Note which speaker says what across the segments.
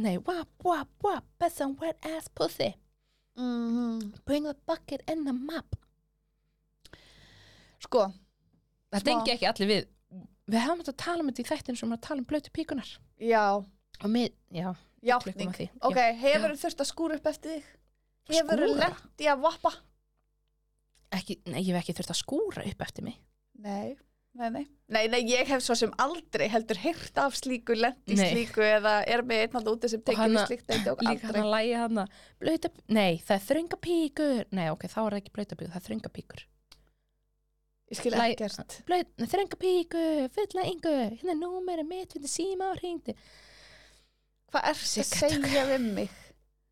Speaker 1: Nei, wap, wap, wap, best some wet ass pussy.
Speaker 2: Mhm.
Speaker 1: Bring a bucket and a mop.
Speaker 2: Sko,
Speaker 1: Það
Speaker 2: Smá.
Speaker 1: tengi ekki allir við. Við hefum þetta að tala um þetta í þættinu sem við erum að tala um blötu píkunar.
Speaker 2: já,
Speaker 1: Og mið, já,
Speaker 2: játning.
Speaker 1: klukkum að því.
Speaker 2: Ok, hefur þú þurft að skúra upp eftir þig? Hefur þú
Speaker 1: Skúra?
Speaker 2: lent í að vappa?
Speaker 1: Já, ekki, nei, ég hef ekki þurft að skúra upp eftir mig.
Speaker 2: Nei, nei, nei. Nei, nei, ég hef svo sem aldrei heldur heyrt af slíku, lent í
Speaker 1: Nei.
Speaker 2: slíku eða er með einn alltaf úti sem tekið við
Speaker 1: hana-
Speaker 2: slíkt eða og
Speaker 1: Líka hann
Speaker 2: aldrei.
Speaker 1: að lægi hann að blöta, nei, það er þrönga píkur. Nei, ok, þá er það ekki blöta píkur, það er þrönga píkur.
Speaker 2: Ég skil
Speaker 1: Læ-
Speaker 2: ekkert.
Speaker 1: Blöt, þrönga píkur, fulla yngur, hérna númerið mitt, hérna síma og hringdi.
Speaker 2: Hvað er það
Speaker 1: Sigga,
Speaker 2: að segja við mig?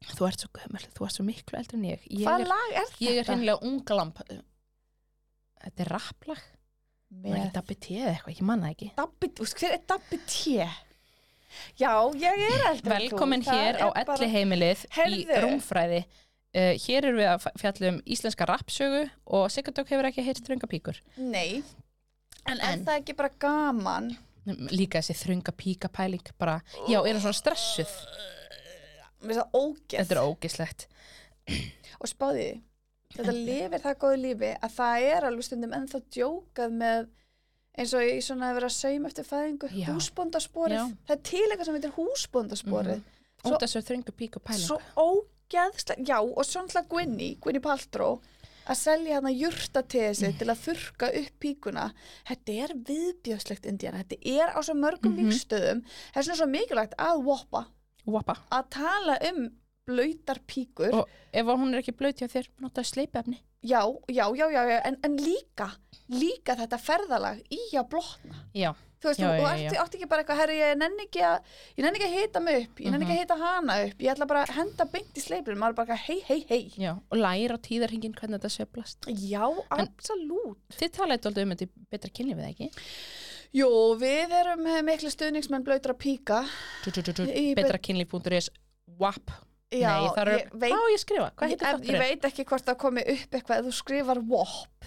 Speaker 1: Þú ert svo gömul, þú ert svo miklu eldur en ég. Ég
Speaker 2: Hvað
Speaker 1: er,
Speaker 2: lag er
Speaker 1: ég er
Speaker 2: þetta?
Speaker 1: hreinlega unglamp. Þetta er rapplag. Það er
Speaker 2: Með
Speaker 1: ekki dabbi tíð eða eitthvað, ég manna ekki.
Speaker 2: Dabbi, þú veist, hver er Dabbi T? Já, ég er eldri en þú.
Speaker 1: Velkomin
Speaker 2: Það
Speaker 1: hér á
Speaker 2: er bara-
Speaker 1: elli heimilið í
Speaker 2: Heyrðu.
Speaker 1: Rúmfræði. Uh, hér erum við að fjalla um íslenska rappsögu og Sigurdók hefur ekki heyrt þröngapíkur.
Speaker 2: Nei, en, er
Speaker 1: En.
Speaker 2: það ekki bara gaman?
Speaker 1: Líka þessi þröngapíka pæling bara, já, er það svona stressuð.
Speaker 2: Mér finnst það ógeð.
Speaker 1: Þetta er ógislegt.
Speaker 2: og spáði því þetta lifir það góðu lífi að það er alveg stundum ennþá djókað með eins og ég svona að vera að sauma eftir fæðingu
Speaker 1: Já.
Speaker 2: húsbóndasporið,
Speaker 1: Já.
Speaker 2: það er til eitthvað sem heitir húsbóndasporið
Speaker 1: Út
Speaker 2: Svo-
Speaker 1: af þessu þröngapíka pæling.
Speaker 2: svo ógeðslega, já og svo náttúrulega Gwynni, Gwynni Paltró að selja hann að jurta
Speaker 1: Mm.
Speaker 2: sitt til að þurka upp píkuna þetta er viðbjöðslegt Indiana, þetta er á svo mörgum mm
Speaker 1: Mhm.
Speaker 2: það er svona svo mikilvægt að woppa,
Speaker 1: Wappa.
Speaker 2: að tala um blöytar píkur
Speaker 1: Og ef hún er ekki blöyt hjá þér, notaðu sleipefni.
Speaker 2: Já, já, já, já, já. En, en líka, líka þetta ferðalag í að blotna.
Speaker 1: Já.
Speaker 2: Þú veist,
Speaker 1: Já,
Speaker 2: og
Speaker 1: já,
Speaker 2: átti,
Speaker 1: já.
Speaker 2: átti ekki bara eitthvað, herri, ég nenni ekki að, ég nenni ekki að hita mig upp, ég
Speaker 1: Mhm.
Speaker 2: nenni ekki að hita hana upp, ég ætla bara að henda beint í sleipinu, maður bara, hei, hei, hei.
Speaker 1: Já, og læra á tíðarhingin hvernig þetta sveiflast.
Speaker 2: Já, absolút.
Speaker 1: Þið talaði alltaf um þetta í betra kynni við ekki?
Speaker 2: Jú, við erum eh, miklu stuðningsmenn blöytra píka. Í bet-
Speaker 1: Betra kynli.is WAP
Speaker 2: Já,
Speaker 1: Nei, það eru,
Speaker 2: ég
Speaker 1: hvað
Speaker 2: veit,
Speaker 1: á ég að skrifa? Hvað heitir
Speaker 2: en, ég
Speaker 1: þátturinn?
Speaker 2: veit ekki hvort það komi upp eitthvað, ef þú skrifar WAP.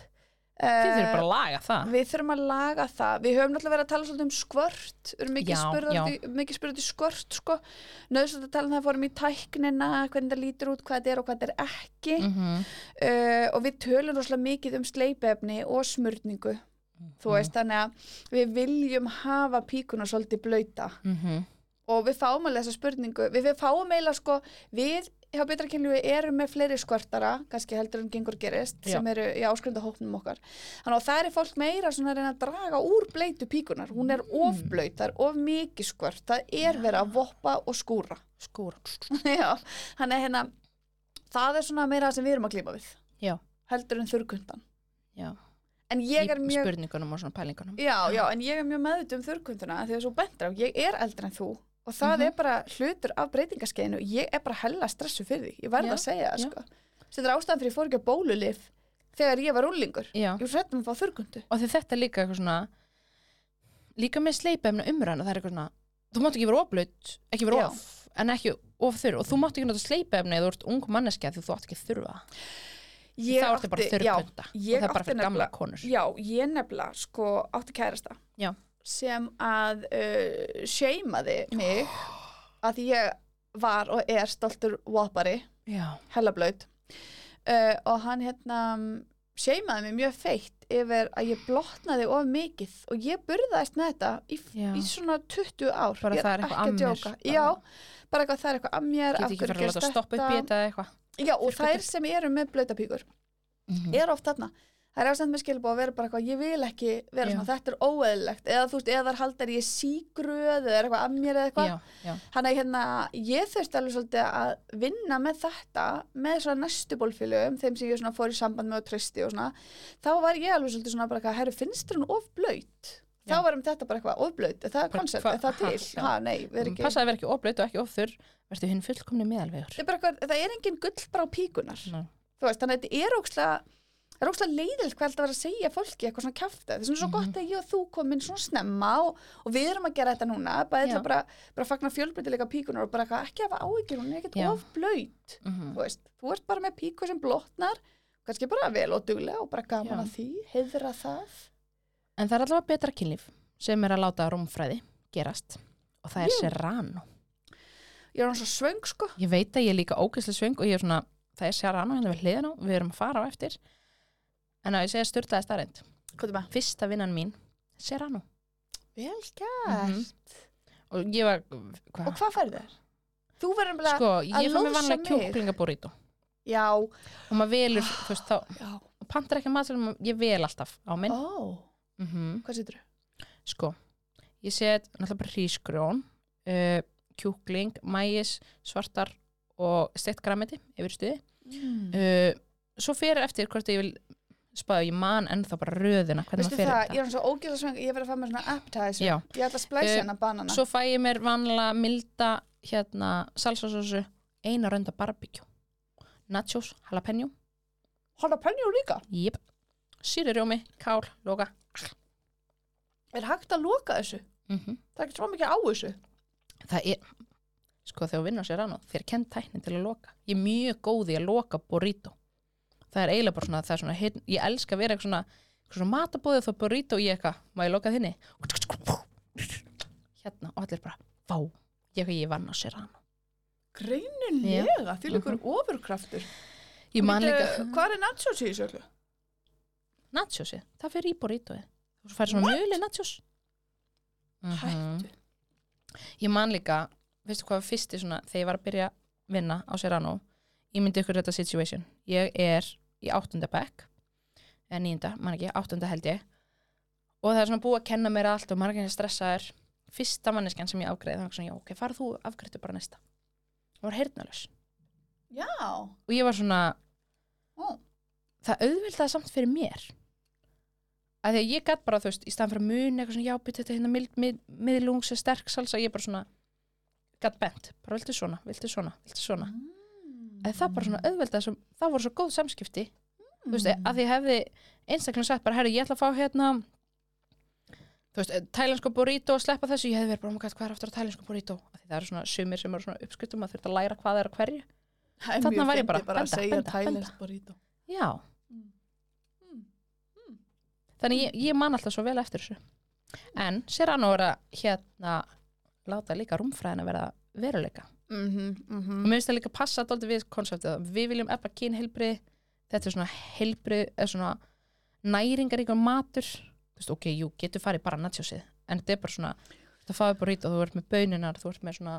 Speaker 1: Þið
Speaker 2: eh,
Speaker 1: þurfum bara að laga það
Speaker 2: Við þurfum að laga það. Við höfum náttúrulega verið að tala svolítið um skvört, við erum mikið
Speaker 1: Já,
Speaker 2: spurðandi- mikið spurðandi skvört, sko. Nauðsvöld að tala um það fórum í tæknina, hvernig það lítur út, hvað þetta er og hvað þetta er ekki.
Speaker 1: mm -hmm.
Speaker 2: Uh, og við tölum rosalega mikið um sleipefni og smurningu.
Speaker 1: Mm.
Speaker 2: Þú veist, þannig að við viljum hafa píkuna svolítið blöyta
Speaker 1: Mm -hmm.
Speaker 2: og við fáum alveg þessa spurningu. Við, við fáum eiginlega, sko, við hjá betra kynlífi erum með fleiri skvörtara, kannski heldur en gengur gerist,
Speaker 1: Já.
Speaker 2: sem eru í áskrunda hóknum okkar. Þannig að það er fólk meira svona að reyna að draga úr bleitu píkunar. Hún er
Speaker 1: Mm.
Speaker 2: ofblöyt, það er of mikið skvört, það er verið að voppa og skúra.
Speaker 1: Skúra
Speaker 2: Já, þannig að hérna, það er svona meira það sem við erum að klíma við,
Speaker 1: Já,
Speaker 2: heldur en þurrkundan.
Speaker 1: já
Speaker 2: En ég er
Speaker 1: Í
Speaker 2: mjög...
Speaker 1: Spurningunum og svona pælingunum
Speaker 2: Já, já, en ég er mjög meðut um þurrkunduna því að svo bentra, ég er eldri en þú og það
Speaker 1: Mhm.
Speaker 2: er bara hlutur af breytingaskeiðinu ég er bara hella stressu fyrir því, ég verð
Speaker 1: Já,
Speaker 2: að segja það
Speaker 1: já.
Speaker 2: sko sem þetta er ástæðan fyrir ég fór ekki á bólulif þegar ég var úlingur,
Speaker 1: Já,
Speaker 2: ég var hrættum að fá þurrkundu
Speaker 1: og því þetta er líka eitthvað svona Líka með sleipefna umræðan Það er eitthvað svona, þú mátt ekki vera oflaut Ekki vera
Speaker 2: Já.
Speaker 1: of, en ekki of þurr Og þú mátt ekki nota sleipefna eða þú ert ung manneskja Því þú átt ekki að þurfa það.
Speaker 2: Ég
Speaker 1: Þá ertu bara
Speaker 2: átti- já,
Speaker 1: þurrpunda Og
Speaker 2: ég
Speaker 1: það er bara
Speaker 2: átti
Speaker 1: fyrir gamla
Speaker 2: nefnilega-
Speaker 1: konur
Speaker 2: Já, ég nefnilega sko átti kærasta
Speaker 1: Já.
Speaker 2: sem að uh, seimaði mig að ég var og er stoltur vopari
Speaker 1: Já,
Speaker 2: hellablaut uh, og hann hérna seimaði mig mjög feitt yfir að ég blotnaði of mikið og ég burðaðist með þetta í,
Speaker 1: Já.
Speaker 2: í svona 20 ár
Speaker 1: Bara
Speaker 2: Ég
Speaker 1: það er eitthvað
Speaker 2: ekki
Speaker 1: að mér,
Speaker 2: djóka.
Speaker 1: bara.
Speaker 2: Já, bara eitthvað það er eitthvað að mér
Speaker 1: getur
Speaker 2: af
Speaker 1: ekki
Speaker 2: hverju
Speaker 1: fyrir að
Speaker 2: gerist
Speaker 1: láta stoppa upp í
Speaker 2: þetta?
Speaker 1: þetta eða eitthvað
Speaker 2: Já, og
Speaker 1: Þurrkutur.
Speaker 2: þær sem eru með blautapíkur
Speaker 1: Mhm.
Speaker 2: er oft þarna það er ástænd með skilbá að vera bara eitthvað ég vil ekki vera
Speaker 1: Já.
Speaker 2: svona, þetta er óeðlilegt eða þú veist, eða þar haldar ég sígröð eða er eitthvað að mér eða eitthvað
Speaker 1: Já, já
Speaker 2: Þannig að hérna, ég þurfti alveg svolítið að vinna með þetta, með svona næstu bólfélögum, þeim sem ég svona fór í samband með og tristi og svona, þá var ég alveg svolítið svona bara eitthvað, herru, finnst þér hún of blöyt? Þá
Speaker 1: Já.
Speaker 2: var um þetta bara eitthvað, of blöyt, er það
Speaker 1: Bara
Speaker 2: koncept,
Speaker 1: hva-
Speaker 2: er það
Speaker 1: ha,
Speaker 2: til?
Speaker 1: já. Mm,
Speaker 2: Ha, nei, við erum ekki.
Speaker 1: Passaði Mhm. að vera ekki oflaut og ekki ofþurr Vertu hinn fullkomni meðalvegur
Speaker 2: Það er bara eitthvað, það er engin gull bara á píkunar.
Speaker 1: Nei.
Speaker 2: Þú veist, þannig að þetta er ókslega, Það er ókslega leiðilegt hvað alltaf að vera að segja fólki eitthvað svona kjafta. Það er svona svo
Speaker 1: Mhm.
Speaker 2: gott að ég og þú komin svona snemma og, og við erum að gera þetta núna. Bæði til
Speaker 1: Já.
Speaker 2: að bara, bara fagna fjölbreytileika píkunar og bara eitthvað, ekki hafa áhyggjur, hún er ekkert
Speaker 1: Já.
Speaker 2: of blöyt.
Speaker 1: Mhm.
Speaker 2: þú veist, þú ert bara með píku sem blotnar kannski bara vel og duglega og bara gaman
Speaker 1: Já.
Speaker 2: að því, heiðra það
Speaker 1: En það er allavega betra kynlíf sem er að láta rúmfræði gerast og það er
Speaker 2: Jú.
Speaker 1: Serrano
Speaker 2: ég er hann svo svöng sko
Speaker 1: ég veit að ég er líka ógeðslega svöng og ég er svona, það er sér annað hérna við hliðin á, við erum að fara á eftir en að ég segja styrtaði starrend
Speaker 2: hvað er maður?
Speaker 1: fyrsta vinnan mín, Serrano
Speaker 2: vel gert
Speaker 1: Mhm. og ég var, hvað?
Speaker 2: og hvað færðu þér? þú verður nefnilega
Speaker 1: sko, ég fann
Speaker 2: lóðsa
Speaker 1: mér vanlega
Speaker 2: mig?
Speaker 1: kjúklingaburrito
Speaker 2: já,
Speaker 1: og maður velur, þú veist, þá
Speaker 2: já,
Speaker 1: og pantar ekki matur, ég vel alltaf á minn
Speaker 2: ó,
Speaker 1: mm
Speaker 2: hvað setur þú?
Speaker 1: sko, ég set náttúrulega bara hrísgrjón uh, kjúkling, mæis, svartar og steikt græmiti yfir í stuði
Speaker 2: Mm.
Speaker 1: uh, svo fyrir eftir hvort ég vil spáðu, ég man ennþá bara röðina hvernig maður
Speaker 2: veistu
Speaker 1: fyrir
Speaker 2: það, ég
Speaker 1: þetta
Speaker 2: er hann svo ógjöla svöng ég verður að fá mér svona appetizer
Speaker 1: Já,
Speaker 2: ég ætla að splæsa
Speaker 1: Eh,
Speaker 2: hérna banana
Speaker 1: svo fæ ég mér vanlega milda hérna salsasósu eina rönda barbecue nachos, jalapeno,
Speaker 2: hóla pönjur líka
Speaker 1: jip sýrirjómi, kál, loka
Speaker 2: er hægt að loka þessu?
Speaker 1: mm
Speaker 2: það er ekki svo mikið á þessu
Speaker 1: það er sko þegar vinna sér annað, þeir kenn tæknin til að loka ég er mjög góð í að loka burrito það er eiginlega bara svona, það er svona hidden- ég elska að vera eitthvað svona, eitthvað svona matabóðið þá burrito í eitthvað, má ég loka þinni hérna og allir bara, vá ég eitthvað ég vann að sér annað
Speaker 2: greinilega, því líkur ofurkraftur
Speaker 1: Mhm. ég man
Speaker 2: Bíddu,
Speaker 1: líka,
Speaker 2: hvað er nachos í þessu öllu?
Speaker 1: nachosið, það fyrir í burritoið og svo færi svona mjöli nachos Mhm.
Speaker 2: hættu
Speaker 1: ég man líka, veistu hvað var fyrsti svona, þegar ég var að byrja að vinna á Serrano ég myndi ykkur þetta situation ég er í áttunda bekk eða nýjunda, man ekki, áttunda held ég og það er svona búið að kenna mér allt og margir stressaður fyrsta manneskjan sem ég afgreið, það var svona, já ok, farð þú afgreiðtu bara næsta og var heyrnalus
Speaker 2: já,
Speaker 1: og ég var svona,
Speaker 2: ó,
Speaker 1: það auðveldaði samt fyrir mér að því að ég gætt bara, þú veist, í staðan fyrir að muni eitthvað svona, já, býtt þetta hérna mild, mið, miðlungs eða sterk salsa, ég bara svona gætt bent, bara viltu svona, viltu svona, viltu svona eða það bara svona auðveldaði, sem, það voru svo góð samskipti þú veist,
Speaker 2: Hmm.
Speaker 1: að því ég hefði einstaklega sagt bara, herri, ég ætla að fá hérna þú veist, tælensko burrito og sleppa þessu, ég hefði verið bara, oh my god, hvað er aftur á tælensko burrito að því það eru svona sumir sem eru svona uppskuttum að þurft að læra hvað er að hverju eh, þarna var ég bara,
Speaker 2: bara að
Speaker 1: benda,
Speaker 2: segja
Speaker 1: benda,
Speaker 2: Thailands burrito
Speaker 1: já, þannig ég, ég man alltaf svo vel eftir þessu en sér hann að vera hérna láta líka rúmfræðina vera veruleika
Speaker 2: Mhm, mhm.
Speaker 1: og mér finnst það líka passa dóldi við konseptið að við viljum eppa kynheilbrið þetta er svona heilbrið er svona næringaríkur matur þú veist, ok, jú, getur farið bara natsjósið en þetta er bara svona það fáið bara ít og þú ert með bönunar þú ert með svona,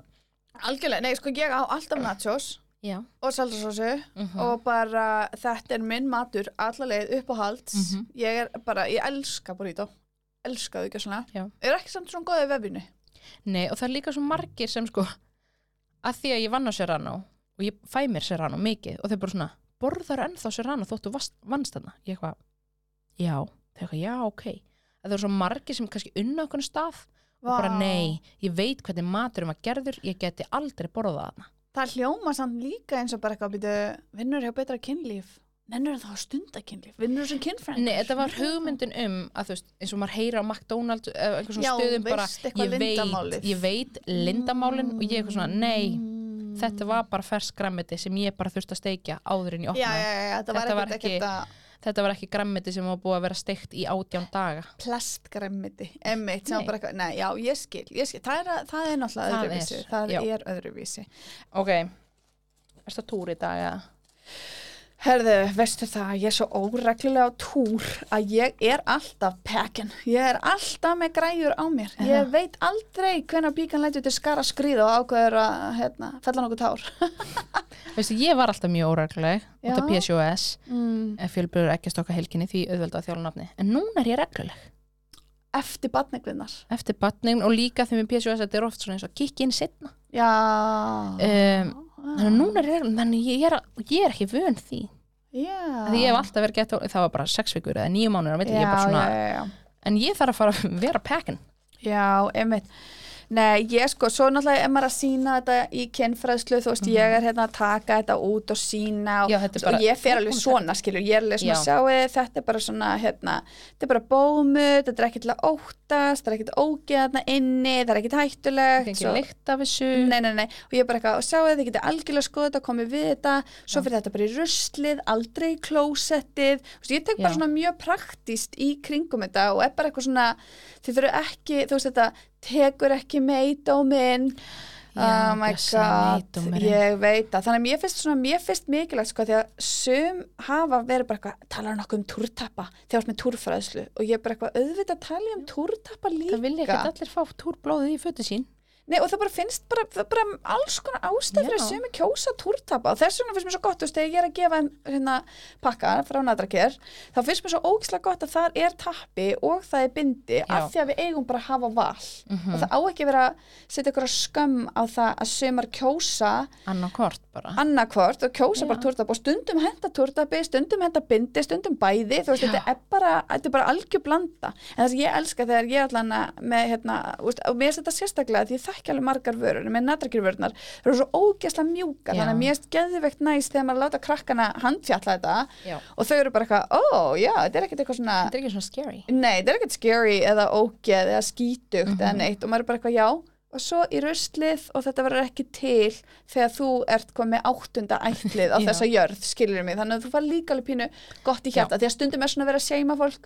Speaker 2: algjörlega, nei sko ég á alltaf nachos
Speaker 1: já
Speaker 2: og salsasósu
Speaker 1: mm
Speaker 2: og bara þetta er minn matur allarleið upp á halds
Speaker 1: Mhm.
Speaker 2: ég er bara, ég elska burrito elska þau ekki svona
Speaker 1: Já.
Speaker 2: er ekki samt svona góðið vefinu
Speaker 1: Nei, og það er líka svo margir sem sko að því að ég vann á Serrano og ég fæ mér Serrano mikið og þau bara svona borðar ennþá Serrano þóttu vannst þarna ég eitthvað, já þau eitthvað, já, ok að það eru svo margir sem kannski unna okkur stað og bara nei, ég veit hvernig maturum var gerður ég geti aldrei borðað þarna
Speaker 2: það hljóma samt líka eins og bara eitthvað býtu, vinnur hjá betra kynlíf nennur þá að stunda kynlíf vinnur sem kynfræng
Speaker 1: Nei, þetta var hugmyndin um að þú veist, eins og maður heyra á McDonalds eða einhver svona
Speaker 2: Já,
Speaker 1: stöðum bara
Speaker 2: veist eitthvað
Speaker 1: ég veit,
Speaker 2: leyndarmálið."
Speaker 1: ég veit lindamálin og ég eitthvað svona, nei
Speaker 2: mm.
Speaker 1: þetta var bara fersk grammiti sem ég bara þurfti að steikja áður en ég
Speaker 2: Mm. já,
Speaker 1: opnaði
Speaker 2: já, já, þetta var
Speaker 1: Þetta var
Speaker 2: ekkert
Speaker 1: ekki-
Speaker 2: ekki að
Speaker 1: þetta var ekki grammiti sem var búið að vera steikt í átján daga
Speaker 2: plastgremmiti emmitt sem
Speaker 1: Nei.
Speaker 2: var bara eitthvað, nei, já, ég skil, ég skil. Það, er, að- það er náttúrulega
Speaker 1: Það
Speaker 2: öðruvísi
Speaker 1: er,
Speaker 2: það
Speaker 1: já.
Speaker 2: er öðruvísi
Speaker 1: ok, erstu að túr í dag eða?
Speaker 2: Herðu, veistu það, ég er svo óreglulega á túr að ég er alltaf pekkin. Ég er alltaf með græjur á mér.
Speaker 1: Já.
Speaker 2: Ég veit aldrei hvenær bíkan lætur til skara skrýða og ákveður að hérna, fella nokkuð tár.
Speaker 1: veistu, ég var alltaf mjög óregluleg út af
Speaker 2: Já.
Speaker 1: PSOS,
Speaker 2: Mm.
Speaker 1: fjölbröður ekki stokka helginni því auðvelda þjálunafni, en núna er ég regluleg
Speaker 2: Eftir batnegvinnar.
Speaker 1: eftir batning og líka því með PSOS þetta er oft svona eins og kikki inn setna
Speaker 2: Já. Eh,
Speaker 1: um, þannig að núna er ég regluleg þannig ég er, að- ég er ekki vön því
Speaker 2: Já.
Speaker 1: því ég hef alltaf verið gett, það var bara sex vikur eða nýju mánuður á milli, ég er bara svona
Speaker 2: Já, já, já.
Speaker 1: en ég þarf að fara að vera pekkin
Speaker 2: Já, einmitt. Nei, ég sko, svo náttúrulega er maður að sína þetta í kynfræðslu, þú veist, ég er hérna að taka þetta út og sína og,
Speaker 1: Mhm. Já, þetta er
Speaker 2: þú veist, og
Speaker 1: bara-
Speaker 2: ég fer alveg svona, skilur, ég er alveg svona
Speaker 1: Já.
Speaker 2: sjáið, þetta er bara svona, hérna, þetta er bara bómut, þetta er ekki til að óttast, það er ekki til að ógeða þarna inni, það er ekki hættulegt.
Speaker 1: ekki
Speaker 2: svo-
Speaker 1: lykt af þessu
Speaker 2: Nei, nei, nei, og ég er bara eitthvað, og sjáið þið getið algjörlega skoðið þetta, komið við þetta, svo fyrir þetta bara í ruslið, aldrei í klósettið, þú veist, ég tek bara
Speaker 1: Já.
Speaker 2: svona mjög praktíst í kringum þetta og er bara eitthvað svona, þið þurfum ekki, þú veist þetta, tekur ekki meidóminn,
Speaker 1: Já,
Speaker 2: oh my
Speaker 1: blessaður
Speaker 2: god,
Speaker 1: neidómurinn.
Speaker 2: ég veit það þannig að mér finnst svona, mér finnst mikilvægt sko, því að sum hafa verið bara eitthvað talar hann okkur um túrtappa, þegar þú ert með túrfræðslu og ég er bara eitthvað auðvitað að tala ég um túrtappa líka,
Speaker 1: Það vilja ekki allir fá túrblóðið í fötu sín.
Speaker 2: nei og það bara finnst bara, það er bara alls konar ástæð
Speaker 1: Já.
Speaker 2: fyrir að sumi kjósa túrtappa og þess vegna finnst mér svo gott, þú veist, þegar ég er að gefa þeim, hérna pakka frá nadraker þá finnst mér svo ógislega gott að það er tappi og það er bindi, af því að við eigum bara að hafa val
Speaker 1: Mm
Speaker 2: og það á ekki að vera að setja ykkur skömm á það að sumar kjósa
Speaker 1: Annarkort bara.
Speaker 2: annarkvort og kjósa
Speaker 1: Já.
Speaker 2: bara túrtapp og stundum henda túrtappi, stundum henda bindi, stundum bæði, þú veist,
Speaker 1: Já.
Speaker 2: þetta er bara, þetta er bara algjör blanda. En það sem ég elska þegar ég er allan að með, hérna, úst, og mér er þetta sérstaklega því ég þekki alveg margar vörur, með natrakjurvörunar, það eru svo ógeðslega mjúkar,
Speaker 1: Já.
Speaker 2: þannig að mér er geðveikt næst þegar maður láta krakkana handfjalla þetta
Speaker 1: Já.
Speaker 2: og þau eru bara eitthvað, ó, já, þetta er ekkert eitthvað svona,
Speaker 1: Þetta er ekki svona scary.
Speaker 2: nei, þetta er ekkert scary eða ógeð eða skítugt eða
Speaker 1: Mhm.
Speaker 2: neitt og maður er bara eitthvað já og svo í ruslið og þetta verður ekki til þegar þú ert komið áttunda ætlið á
Speaker 1: Já.
Speaker 2: þessa jörð, skilur mig þannig að þú fara líka alveg pínu gott í hjarta því að stundum er svona verið að seima fólk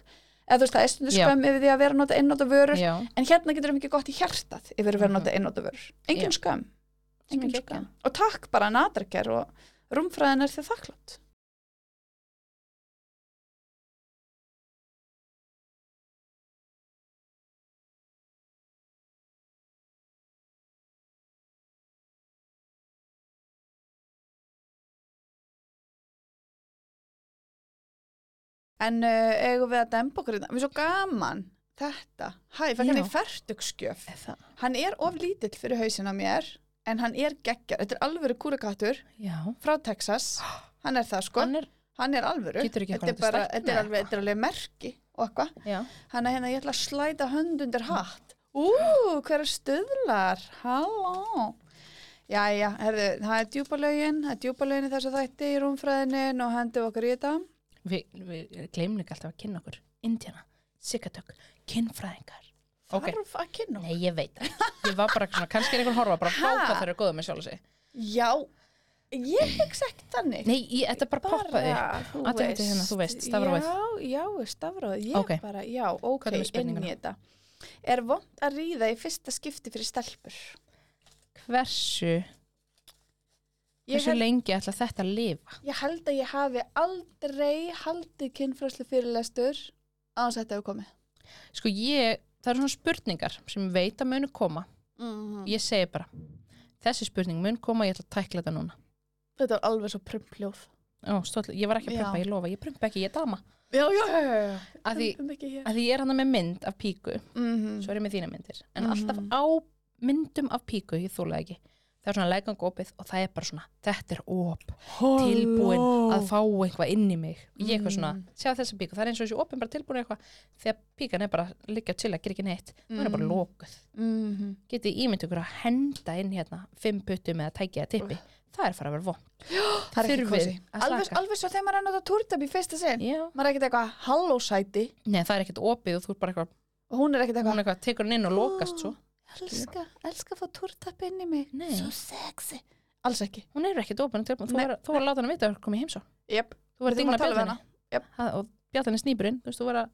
Speaker 2: eða þú veist það er stundum
Speaker 1: Já.
Speaker 2: skömm yfir því að vera að nota einnota vörur
Speaker 1: Já.
Speaker 2: en hérna getur við ekki gott í hjartað yfir að vera að
Speaker 1: Mhm.
Speaker 2: nota einnota vörur engin
Speaker 1: Sem
Speaker 2: skömm,
Speaker 1: er
Speaker 2: engin
Speaker 1: geggjað.
Speaker 2: skömm og takk bara natraker og rúmfræðin er þér þakklátt En uh, eigum við að dempa okkur þetta? Mér er svo gaman þetta. Hæ, ég fæk hann
Speaker 1: Já.
Speaker 2: í fertugskjöf.
Speaker 1: Það.
Speaker 2: Hann er of lítill fyrir hausin á mér, en hann er geggjar. Þetta er alvöru kúrakattur
Speaker 1: Já.
Speaker 2: frá Texas. Hann er það sko. Hann,
Speaker 1: Hann er,
Speaker 2: er alvöru.
Speaker 1: getur ekki
Speaker 2: Þetta er, bara, þetta, er alveg, þetta er alveg merki og eitthvað.
Speaker 1: Já.
Speaker 2: Hann er hérna, ég ætla að slæta hönd undir hatt. Ú, hverja stöðlar. Halló. Jæja, herðu, það er djúpalögin, það er djúpalögin í þessu þætti í rúmfræðinin og hendum okkur í þetta.
Speaker 1: Við, við gleymum ekki alltaf að kynna okkur. Indiana, Sikatök, kinnfræðingar. Ok.
Speaker 2: Þarf að kynna
Speaker 1: Nei, ég veit ekki. Ég var bara svona, kannski er einhvern horfa bara
Speaker 2: Ha?
Speaker 1: frábæð þegar góða með sjálf sig.
Speaker 2: Já, ég hugsa ekki þannig.
Speaker 1: Nei, ég, þetta bara poppaði.
Speaker 2: þú
Speaker 1: Athugið þetta hérna, þú veist, stafrófið.
Speaker 2: Já, já, stafrófið, ég
Speaker 1: Ókei.
Speaker 2: bara, já,
Speaker 1: Hvað
Speaker 2: ok,
Speaker 1: er með
Speaker 2: inn
Speaker 1: spurninguna?
Speaker 2: í þetta. Er vond að ríða í fyrsta skipti fyrir stelpur?
Speaker 1: Hversu,
Speaker 2: Ég
Speaker 1: hversu
Speaker 2: held,
Speaker 1: lengi ætla þetta að lifa?
Speaker 2: ég held að ég hafi aldrei haldið kynfræslu fyrirlestur á þess að þetta hefur komið.
Speaker 1: Sko ég, það eru svona spurningar sem ég veit að munu koma.
Speaker 2: Mm.
Speaker 1: Ég segi bara, þessi spurning mun koma, ég ætla að tækla þetta núna.
Speaker 2: Þetta var alveg svo prumpljóð.
Speaker 1: Ó, stóðlega, ég var ekki að prumpa,
Speaker 2: Já.
Speaker 1: ég lofa, ég prumpa ekki, ég er dama.
Speaker 2: Já, já, já, já, já.
Speaker 1: Að því,
Speaker 2: Prumpum um ekki hér.
Speaker 1: að því ég er hann með mynd af píku,
Speaker 2: Mhm.
Speaker 1: svo er ég með þína myndir, en
Speaker 2: Mhm.
Speaker 1: alltaf á myndum af píku, ég þúlega ekki. Það er svona lægang opið og það er bara svona, þetta er op. tilbúin að fá eitthvað inn í mig ég eitthvað svona,
Speaker 2: Mm.
Speaker 1: sjá þessa píku það er eins og þessi opin bara tilbúin eitthvað þegar píkan er bara að liggja til að gera ekki neitt mm. það er bara
Speaker 2: Mm.
Speaker 1: lokuð
Speaker 2: Mhm.
Speaker 1: getið ímynd ykkur að henda inn hérna fimm puttum eða tækja eða tippi það er fara að vera von
Speaker 2: Það er ekki
Speaker 1: Þurfið
Speaker 2: kosi.
Speaker 1: að
Speaker 2: Alveg,
Speaker 1: slaka.
Speaker 2: alveg svo þegar maður er að nota túrtab í fyrsta sinn.
Speaker 1: Já.
Speaker 2: Maður er ekkert eitthvað hallósæti
Speaker 1: Nei, það er ekkert opið og þú er bara eitthvað,
Speaker 2: og hún er ekkert eitthvað
Speaker 1: hún eitthvað tekur hann inn og lokast svo
Speaker 2: elska, elska að fá túrtapp inn í mig
Speaker 1: Nei.
Speaker 2: svo sexy alls ekki
Speaker 1: hún er ekkert opin og tilbúin þú
Speaker 2: Nei.
Speaker 1: var, þú var að láta hann vita að koma í heimsó
Speaker 2: yep.
Speaker 1: þú var að
Speaker 2: Við þurfum
Speaker 1: dingla
Speaker 2: að tala um við
Speaker 1: bjallinni
Speaker 2: Jep.
Speaker 1: Ha, og bjallinni snýpurinn þú veist, þú var að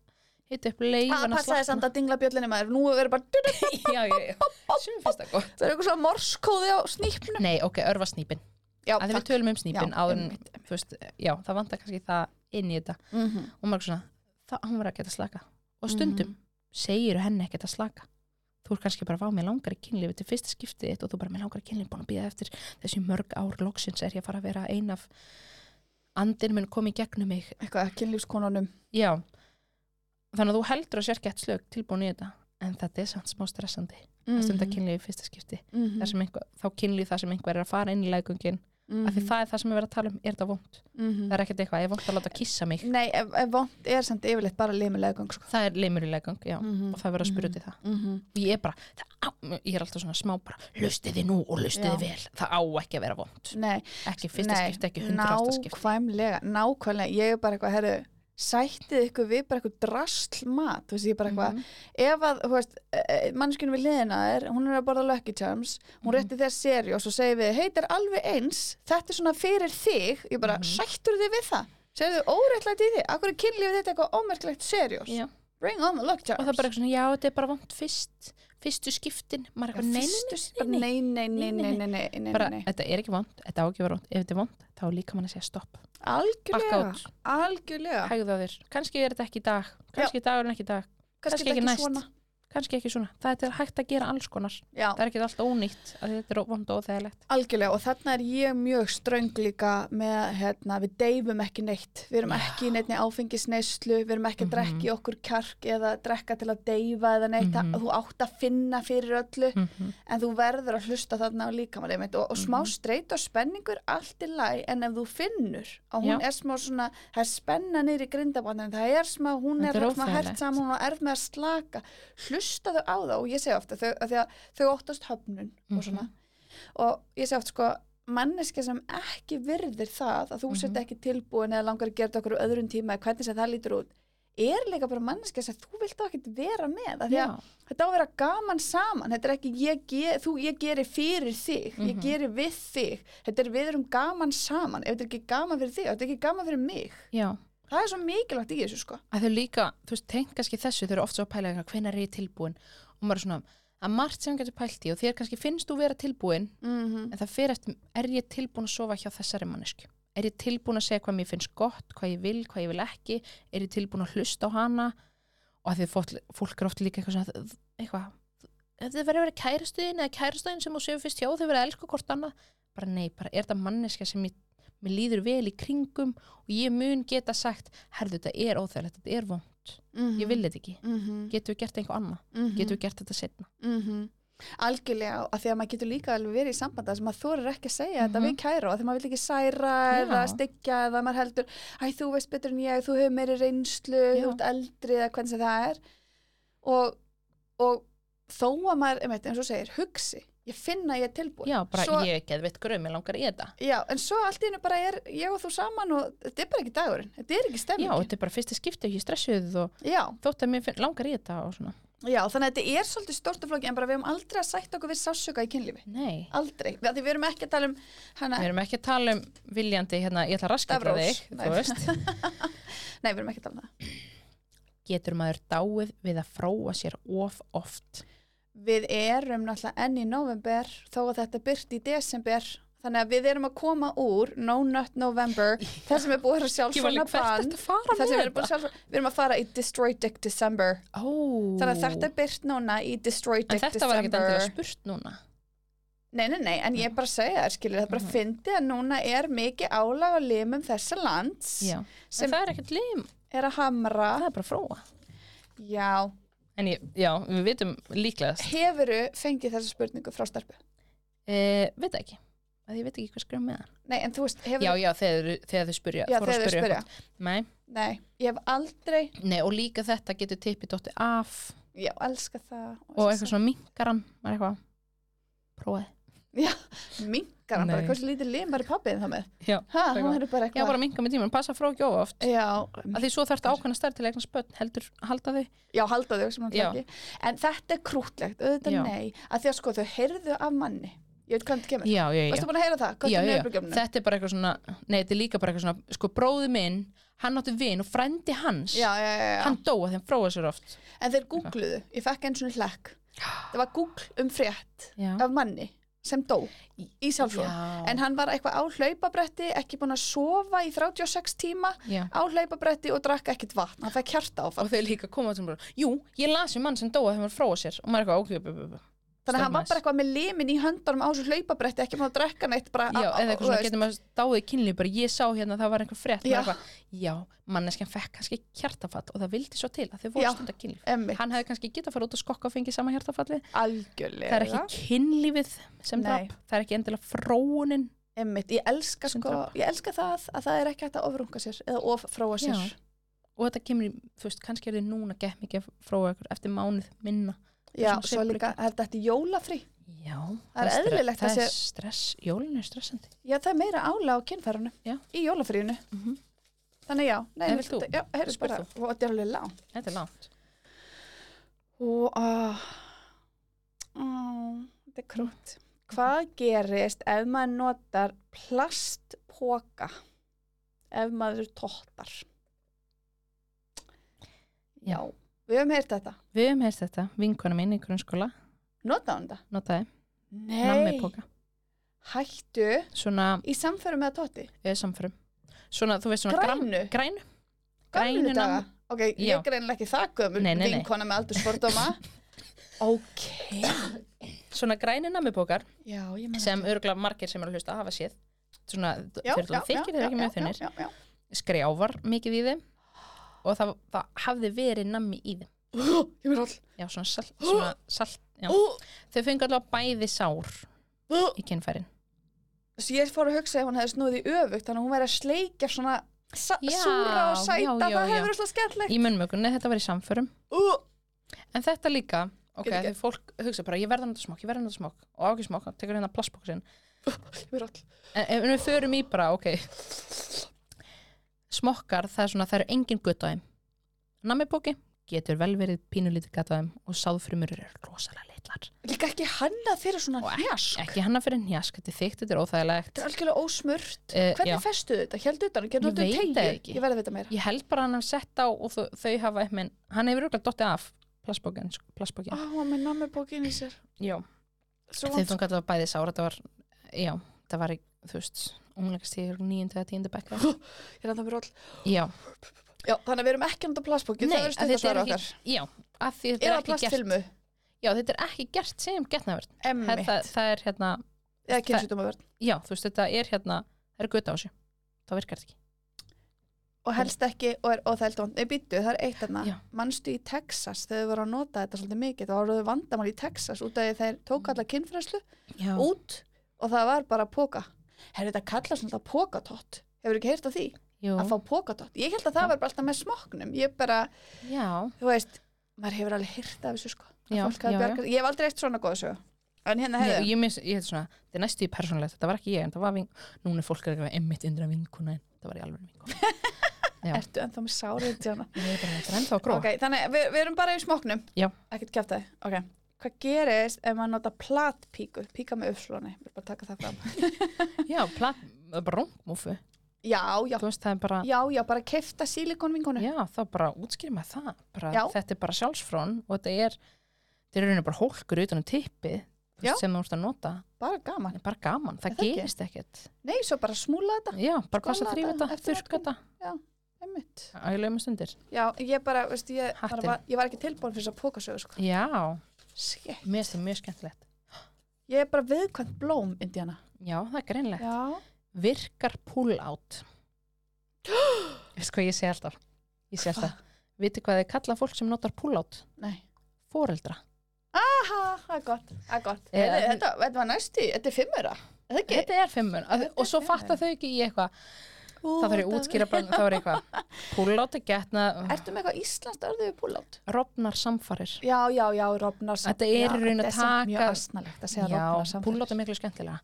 Speaker 1: hitta upp leif
Speaker 2: að passaði samt að dingla bjöllinu maður nú verður bara dutt,
Speaker 1: já, já, já, sem finnst það gott
Speaker 2: það er eitthvað svona morskóði á snýpnum
Speaker 1: nei, ok, örfa snýpin
Speaker 2: já,
Speaker 1: að við tölum um snýpin
Speaker 2: Já,
Speaker 1: áður en,
Speaker 2: einmitt,
Speaker 1: þú veist, já, það vantar kannski það inn í þetta
Speaker 2: mm -hmm.
Speaker 1: og maður er svona, það, hún var að geta slaka og stundum
Speaker 2: Mhm.
Speaker 1: segir henni ekkert að slaka þú er kannski bara, vá, mér langar í kynlífi til fyrsta skiptið þitt og þú bara, mér langar í kynlífi búin að býða eftir þessi mörg ár loksins er ég að fara að vera ein af andin mun komi í gegnum mig
Speaker 2: eitthvað kynlífskonunum
Speaker 1: já, þannig að þú heldur að sér gett slög tilbúin í þetta en þetta er samt smá stressandi
Speaker 2: Mhm.
Speaker 1: að stunda kynlífi í fyrsta skipti mm. sem einhver, þá kynlífi það sem einhver er að fara inn í lægungin
Speaker 2: Mhm.
Speaker 1: af því það er það sem er verið að tala um, er þetta vond það er ekkert eitthvað, ég vant að láta kissa mig
Speaker 2: nei, ef, ef vond er samt yfirleitt bara limulegung sko.
Speaker 1: það er leimur í legang, já
Speaker 2: Mhm.
Speaker 1: og það verður að spyrja út í það
Speaker 2: Mhm.
Speaker 1: og ég er bara, það á, ég er alltaf svona smá bara lustiði nú og lustiði
Speaker 2: Já.
Speaker 1: vel það á ekki að vera vond,
Speaker 2: nei,
Speaker 1: ekki fyrsta
Speaker 2: Nei,
Speaker 1: skipti ekki hundrasta skipti
Speaker 2: nákvæmlega, nákvæmlega ég er bara eitthvað, herru, sættið ykkur við bara eitthvað drasl mat þú veist, ég er bara eitthvað,
Speaker 1: Mhm.
Speaker 2: ef að, þú veist, mannskjörnum við hliðina þér, hún er að borða Lucky Charms, hún
Speaker 1: Mhm.
Speaker 2: rétti þér seri og svo segir við, heitir alveg eins, þetta er svona fyrir þig, ég bara,
Speaker 1: Mhm.
Speaker 2: sættur þið við það? Segir þið óréttlætt í því? Akkur er kynlífið þetta eitthvað ómerklegt seriós?
Speaker 1: Já.
Speaker 2: Bring on the Lucky
Speaker 1: og
Speaker 2: Charms.
Speaker 1: það er bara eitthvað svona, já þetta er bara vond fyrst fyrstu skiptin, maður
Speaker 2: Já,
Speaker 1: eitthvað nein,
Speaker 2: fyrstu-
Speaker 1: nei, nei,
Speaker 2: bara nei, nei, nei, nei, nei, nei, nei,
Speaker 1: bara,
Speaker 2: nei, nei.
Speaker 1: þetta er ekki vond, þetta á ekki að vera vond ef þetta er vond, þá er líka mann að segja stopp bakka
Speaker 2: Algjörlega,
Speaker 1: út,
Speaker 2: algjörlega.
Speaker 1: hægða þér, kannski er þetta ekki í dag kannski er dagurinn ekki í dag, kannski
Speaker 2: þetta
Speaker 1: ekki næst. kannski ekki svona, það er hægt að gera alls konar
Speaker 2: Já,
Speaker 1: það er ekki alltaf ónýtt, að þetta er vond og óþægilegt
Speaker 2: algjörlega og þarna er ég mjög ströng líka með, hérna, við deyfum ekki neitt, við erum
Speaker 1: Já.
Speaker 2: ekki í neittni áfengisneislu, við erum ekki að drekka í okkur kjark eða drekka til að deyfa eða neitt,
Speaker 1: Mhm.
Speaker 2: að, þú átt að finna fyrir öllu,
Speaker 1: mm
Speaker 2: en þú verður að hlusta þarna á líkamann einmitt og, og smá
Speaker 1: Mhm.
Speaker 2: streyt og spenningur allt í lagi en ef þú finnur að hún
Speaker 1: Já.
Speaker 2: er smá svona, það er spenna niður í grindabandin, það er smá, hún
Speaker 1: Þetta
Speaker 2: er
Speaker 1: er
Speaker 2: smá hert
Speaker 1: óþægilegt.
Speaker 2: saman, hún er með að slaka hlusta þau á það og ég segi ofta þau, að því að þau óttast höfnun
Speaker 1: Mhm.
Speaker 2: og svona og ég segi ofta sko manneski sem ekki virðir það að þú
Speaker 1: Mhm.
Speaker 2: sett ekki tilbúin eða langar að gera þetta okkur á öðrum tíma eða hvernig sem það lítur út er líka bara manneski sem þú vilt þá ekkert vera með af því að
Speaker 1: já,
Speaker 2: þetta á að vera gaman saman þetta er ekki ég, ge, þú, ég geri fyrir þig ég
Speaker 1: Mhm.
Speaker 2: geri við þig þetta er við erum gaman saman ef þetta er ekki gaman fyrir þig, þetta er ekki gaman fyrir mig
Speaker 1: já,
Speaker 2: það er svo mikilvægt í þessu sko
Speaker 1: að þau líka, þú veist, tengt kannski þessu þau eru oft svo að pæla eitthvað, hvenær er ég tilbúin og maður er svona, að margt sem getur pælt í og þér kannski finnst þú vera tilbúin
Speaker 2: mm -hmm.
Speaker 1: en það fer eftir, er ég tilbúin að sofa hjá þessari mannesku er ég tilbúin að segja hvað mér finnst gott hvað ég vil, hvað ég vil ekki er ég tilbúin að hlusta á hana og að því fólk, fólk er oft líka eitthvað svona þ- eitthvað, ef þið verður að vera kærastuðin eða kærastuðin sem þú séu fyrst hjá þau verður að elska hvort annað bara nei, bara er þetta manneska sem ég, mér líður vel í kringum og ég mun geta sagt herðu þetta er óþægilegt, þetta er vond ég vil þetta ekki,
Speaker 2: mm -hmm.
Speaker 1: getum við gert eitthvað annað
Speaker 2: Mhm.
Speaker 1: getum við gert þetta setna
Speaker 2: mm algjörlega að því að maður getur líka alveg verið í sambanda sem maður þorir ekki að segja þetta
Speaker 1: Mhm.
Speaker 2: við kæra og því maður vil ekki særa
Speaker 1: Já.
Speaker 2: eða styggja eða maður heldur æ þú veist betur en ég, þú hefur meiri reynslu
Speaker 1: Já.
Speaker 2: þú ert eldri eða hvernig sem það er og, og þó að maður, einmitt, eins og þú segir, hugsi ég finna að ég er tilbúin
Speaker 1: já, bara
Speaker 2: svo,
Speaker 1: ég geð veit gröð, mér langar í þetta
Speaker 2: já, en svo allt í hennu bara er ég og þú saman og þetta er bara ekki dagurinn þetta er ekki
Speaker 1: já,
Speaker 2: stemmingin
Speaker 1: þetta er bara fyrsta skipti og ég er stressuð og
Speaker 2: já,
Speaker 1: þótt að mér finn, langar í þetta og svona
Speaker 2: já, þannig að þetta er svolítið stort og flóki en bara við höfum aldrei að sætt okkur við sásuka í kynlífi
Speaker 1: nei,
Speaker 2: aldrei, Af því við erum ekki að tala um hana,
Speaker 1: við erum ekki að tala um viljandi hérna, ég ætla að raskata
Speaker 2: Stafrós.
Speaker 1: þig
Speaker 2: Nei.
Speaker 1: þú veist,
Speaker 2: Nei, við erum ekki að tala um það.
Speaker 1: getur maður dáið við að fróa sér of oft
Speaker 2: Við erum náttúrulega enn í november þó að þetta byrt í desember þannig að við erum að koma úr No Nut November, þar sem er búið að sjálfsvona bann
Speaker 1: að fara
Speaker 2: þar sem við erum, búin að sjálfsvona, við erum að fara í Destroy Dick December
Speaker 1: Ó,
Speaker 2: þannig að þetta er byrt núna í Destroy
Speaker 1: en
Speaker 2: Dick
Speaker 1: þetta var ekkert
Speaker 2: December
Speaker 1: endilega spurt núna
Speaker 2: Nei, nei, nei, en ég er bara að segja þér skilur, það er bara að
Speaker 1: Mhm.
Speaker 2: fyndi að núna er mikið álag á limum þessa lands
Speaker 1: já.
Speaker 2: sem
Speaker 1: en það er ekkert lim,
Speaker 2: er að hamra
Speaker 1: það er bara að fróa
Speaker 2: Já,
Speaker 1: en ég, já, við vitum líklega
Speaker 2: hefuru fengið þessa spurningu frá starpu? Eh,
Speaker 1: e, veit það ekki, að ég veit ekki hvað skrifa með það
Speaker 2: Nei, en þú veist, hefur
Speaker 1: já, já, þegar, þegar þau spurja
Speaker 2: Já, þegar þau spyrja.
Speaker 1: Nei.
Speaker 2: Nei, ég hef aldrei,
Speaker 1: Nei, og líka þetta getur tippið dótti af
Speaker 2: já, elska það.
Speaker 1: og eitthvað svona minkaran maður eitthvað, prófaði
Speaker 2: svona. Mingar hann bara,
Speaker 1: Nei.
Speaker 2: hversu lítið lim var í pappiðin það með?
Speaker 1: Já,
Speaker 2: Ha,
Speaker 1: eitthvað.
Speaker 2: hún er bara
Speaker 1: Já,
Speaker 2: eitthvað.
Speaker 1: bara minka með tímann, passa frá ekki of oft
Speaker 2: Já,
Speaker 1: að því svo þarf þetta ákveðna stærð til eignan spönn heldur halda þau
Speaker 2: já, halda þau sem hann
Speaker 1: Já.
Speaker 2: fengi. En þetta er krútlegt, auðvitað
Speaker 1: Já.
Speaker 2: nei, að því að sko þau heyrðu af manni. Ég veit hvað þetta kemur.
Speaker 1: já, já, já.
Speaker 2: Varstu búin að heyra það? Hvað
Speaker 1: Já,
Speaker 2: er
Speaker 1: já, já.
Speaker 2: nöfnugjöfnum?
Speaker 1: þetta er bara eitthvað svona nei, þetta er líka bara eitthvað svona, sko bróði minn hann átti vin og frændi hans
Speaker 2: Já, já, já, já.
Speaker 1: hann dóa þeim fróa sér oft
Speaker 2: En þeir googluðu, ég fekk eins og hlekk. Það var Google um frétt
Speaker 1: já,
Speaker 2: af manni sem dó í sjálfsvon. En
Speaker 1: já,
Speaker 2: hann var eitthvað á hlaupabretti, ekki búin að sofa í 36 tíma
Speaker 1: já.
Speaker 2: á hlaupabretti og drakk ekkit vatn. Hann fekk hjarta
Speaker 1: og þau líka koma
Speaker 2: um
Speaker 1: sem bara, jú, ég lasi mann sem dóa þeim var fróa sér og maður eitthvað, ok, bu, bu, bu.
Speaker 2: Þannig að hann var
Speaker 1: Stefnæs.
Speaker 2: bara eitthvað með limin í höndunum á þessu hlaupabretti, ekki búin að drekka neitt bara
Speaker 1: já, eða eitthvað svona
Speaker 2: þú veist.
Speaker 1: getur maður dáið kynlíf bara ég sá hérna að það var einhver frétt
Speaker 2: Já.
Speaker 1: já. Eitthvað, já, manneskjan fekk kannski hjartafall og það vildi svo til að þau
Speaker 2: Já.
Speaker 1: voru stundar kynlíf
Speaker 2: Einmitt,
Speaker 1: hann hefði kannski getað að fara út og skokka og fengið sama hjartafalli
Speaker 2: algjörlega.
Speaker 1: það er ekki kynlífið sem
Speaker 2: Nei.
Speaker 1: drap það er ekki endilega fróunin
Speaker 2: Einmitt, ég elska
Speaker 1: Sem
Speaker 2: sko,
Speaker 1: drap.
Speaker 2: ég elska það að það er ekki hægt að ofrunga sér eða offróa sér.
Speaker 1: Já. og þetta kemur í, þú veist, kannski er þið núna gett mikið að fróa ykkur eftir mánuð minna
Speaker 2: Já,
Speaker 1: Svona
Speaker 2: svo
Speaker 1: sveiflur
Speaker 2: líka, er þetta jólafrí?
Speaker 1: já,
Speaker 2: Það er
Speaker 1: stre-
Speaker 2: eðlilegt að
Speaker 1: það er
Speaker 2: sé-
Speaker 1: stress, jólin er stressandi
Speaker 2: Já, það er meira ála á kynfærunum
Speaker 1: Já.
Speaker 2: í jólafríinu.
Speaker 1: mm -hmm.
Speaker 2: Þannig já, nei,
Speaker 1: En
Speaker 2: mér
Speaker 1: vilt þú?
Speaker 2: þetta- Já, heyrðu
Speaker 1: Spyr
Speaker 2: bara, og þetta er alveg langt.
Speaker 1: þetta er langt
Speaker 2: Og, ah, ah, þetta er krútt. Hvað gerist ef maður notar plastpoka ef maður tóttar? Já, við höfum heyrt þetta.
Speaker 1: við höfum heyrst þetta, vinkona mín í grunnskóla
Speaker 2: Notaði hún þetta?
Speaker 1: notaði, nammi
Speaker 2: Nei,
Speaker 1: póka
Speaker 2: hættu
Speaker 1: svona
Speaker 2: í samferðum með Totti.
Speaker 1: eða samförum svona, þú veist svona gram-
Speaker 2: Grænu?
Speaker 1: grænu
Speaker 2: Gamlu
Speaker 1: grænu
Speaker 2: daga?
Speaker 1: nammi.
Speaker 2: Ok, ég
Speaker 1: Já.
Speaker 2: er greinilega ekki það gömul
Speaker 1: Nei, nei, nei.
Speaker 2: vinkona með aldursfordóma. ok.
Speaker 1: svona grænu namibókar
Speaker 2: Já, ég meina.
Speaker 1: sem örgulega margir sem eru að hlusta hafa séð svona, þeir eru þykir þeir ekki mjög þunnir
Speaker 2: Já, já, já.
Speaker 1: skrjáfar mikið í þeim og það, það hafði verið nammi í þeim
Speaker 2: Ú, Ég verð all.
Speaker 1: já, svona salt, svona salt já.
Speaker 2: Ú,
Speaker 1: þau fengu allavega bæði sár
Speaker 2: ú.
Speaker 1: í kynfærin
Speaker 2: Svo ég fór að hugsa ef hún hefði snúið í öfugt, þannig að hún væri að sleikja svona sa-
Speaker 1: Já,
Speaker 2: súra og sæta,
Speaker 1: já, já,
Speaker 2: það
Speaker 1: já.
Speaker 2: hefur alltaf skemmtilegt.
Speaker 1: í munnmökunni, þetta var í samförum
Speaker 2: Ú,
Speaker 1: en þetta líka, ok,
Speaker 2: Get ekki.
Speaker 1: þegar fólk hugsa bara, ég verða náttúrulega smokk, ég verða náttúrulega smokk og á ekki smokk, tekur hérna plastbóksin
Speaker 2: ég verð all.
Speaker 1: en, en við förum í bara, ok smokkar, það er svona það eru engin gutt á þeim namibóki getur vel verið pínulítið gatt á þeim og sáðfrumur eru rosalega litlar
Speaker 2: Líka ekki hanna fyrir svona
Speaker 1: Og
Speaker 2: hnjask.
Speaker 1: ekki sko. hanna fyrir njask, þetta er þygt, þetta er óþægilegt
Speaker 2: Þetta er algjörlega ósmurt.
Speaker 1: Eh, já.
Speaker 2: Hvernig festu þetta? Hjældu utan,
Speaker 1: Ég
Speaker 2: gerðu þetta
Speaker 1: veit
Speaker 2: um
Speaker 1: það
Speaker 2: tegju?
Speaker 1: ekki.
Speaker 2: Ég verði að vita meira.
Speaker 1: ég held bara að hann hef sett á og þau, þau hafa einhvern, hann hefur auðvitað dottið af plastbókin, sko,
Speaker 2: Á,
Speaker 1: plastbókin.
Speaker 2: hann með namibókin í sér.
Speaker 1: já,
Speaker 2: Svo
Speaker 1: þau þú gætu að bæði sára þetta var, já, það var í, þú veist, umleggastíður nýjöndu að tíundu bekka
Speaker 2: Ég er að það all.
Speaker 1: já,
Speaker 2: Já, þannig að við erum ekki að nota plastbókin,
Speaker 1: Nei,
Speaker 2: það
Speaker 1: að
Speaker 2: er stundasvara
Speaker 1: þetta er
Speaker 2: okkar.
Speaker 1: ekki- já, af því þetta er
Speaker 2: Eða
Speaker 1: ekki gert
Speaker 2: plastfilmu,
Speaker 1: já, þetta er ekki gert sem getnaverð það,
Speaker 2: emmi,
Speaker 1: það, það er hérna,
Speaker 2: eða kynsutumavörn.
Speaker 1: já, þú veist, þetta er hérna það er gutt á þessu, þá virkar þetta ekki
Speaker 2: Og helst ekki, og er óþælt vond. Nei, býttu, það er eitt þarna.
Speaker 1: Já.
Speaker 2: Manstu í Texas, þegar þau voru að nota þetta svolítið mikið, þá voru þau vandamál í Texas út af því þeir tók alla kynfræslu
Speaker 1: já,
Speaker 2: út og það var bara póka. Herri, þetta kallast svona pókatott. Hefur ekki heyrt á því?
Speaker 1: jú,
Speaker 2: Að fá pókatott. Ég held að það var bara alltaf með smoknum. Ég bara,
Speaker 1: já,
Speaker 2: þú veist, maður hefur alveg heyrt af þessu sko. Að
Speaker 1: Já,
Speaker 2: fólk hafi
Speaker 1: já, já.
Speaker 2: bjargað- Ég hef aldrei eitt svona góð sög. En hérna
Speaker 1: Nei,
Speaker 2: hefur.
Speaker 1: ég, mis, ég hef svona, þetta er næstu í persónulegt þetta var ekki ég, en það var ving, núna er fólk að eitthvað emmitt undra vinkuna, en það var í alveg vinkuna Já.
Speaker 2: Ertu ennþá með sárið til hana?
Speaker 1: ég er bara, þetta er ennþá að gróa
Speaker 2: Ok, þannig að við, við erum bara í smóknum.
Speaker 1: Já.
Speaker 2: Ekkert kjátt það. Ok. Hvað gerist ef maður nota platpíku? Píka með uppslóni. Við erum bara að taka það fram.
Speaker 1: já, plat, það er bara rungmúfu
Speaker 2: Já, já.
Speaker 1: þú veist, það er bara,
Speaker 2: Já, já, bara kefta sílikonvinkonu.
Speaker 1: já, þá bara útskýrir maður það bara,
Speaker 2: Já.
Speaker 1: þetta er bara sjálfsfrón og þetta er þetta er í rauninni bara hólkur utan um tippið þú
Speaker 2: Já.
Speaker 1: veist, sem þú ert að nota,
Speaker 2: Bara gaman.
Speaker 1: það er bara gaman það,
Speaker 2: Er það ekki?
Speaker 1: gerist ekkert
Speaker 2: Nei, svo bara smúla þetta.
Speaker 1: Já, bara passa að
Speaker 2: Skóla
Speaker 1: þrýfa
Speaker 2: þetta
Speaker 1: þetta,
Speaker 2: eftir
Speaker 1: þurrka þetta
Speaker 2: Einmitt.
Speaker 1: á ég lögum stundir.
Speaker 2: Já, ég bara, veist, ég, bara
Speaker 1: Hattinn.
Speaker 2: var, ég var ekki tilbúin fyrir þess að póka sögur, sko.
Speaker 1: Já,
Speaker 2: Shit.
Speaker 1: mér finnst það mjög skemmtilegt.
Speaker 2: Ég er bara viðkvæmt blóm, Indiana.
Speaker 1: Já, það er greinlegt.
Speaker 2: Já.
Speaker 1: Virkar pull-out. Veist hvað ég sé alltaf? Ég sé alltaf. Viti hvað þið kalla fólk sem notar pull-out?
Speaker 2: Nei.
Speaker 1: Fóreldra.
Speaker 2: Aha, það er gott, það er gott.
Speaker 1: Eða-
Speaker 2: Heyrðu, Þetta, þetta var næstu, þetta er fimmura. Er Það ekki?
Speaker 1: Þetta er fimmur. að- Og svo fatta þau ekki í eitthvað. Það fyrir útskýra bara, það er eitthvað. Pull-out er getna,
Speaker 2: Ertu með eitthvað íslenskt orðið við púlátt?
Speaker 1: rofnar samfarir.
Speaker 2: Já, já, já, rofnar
Speaker 1: Þetta er í raun að
Speaker 2: Þetta er samt mjög
Speaker 1: taka-
Speaker 2: asnalegt að segja
Speaker 1: Já,
Speaker 2: rofnar samfélags.
Speaker 1: pull-out er miklu skemmtilega.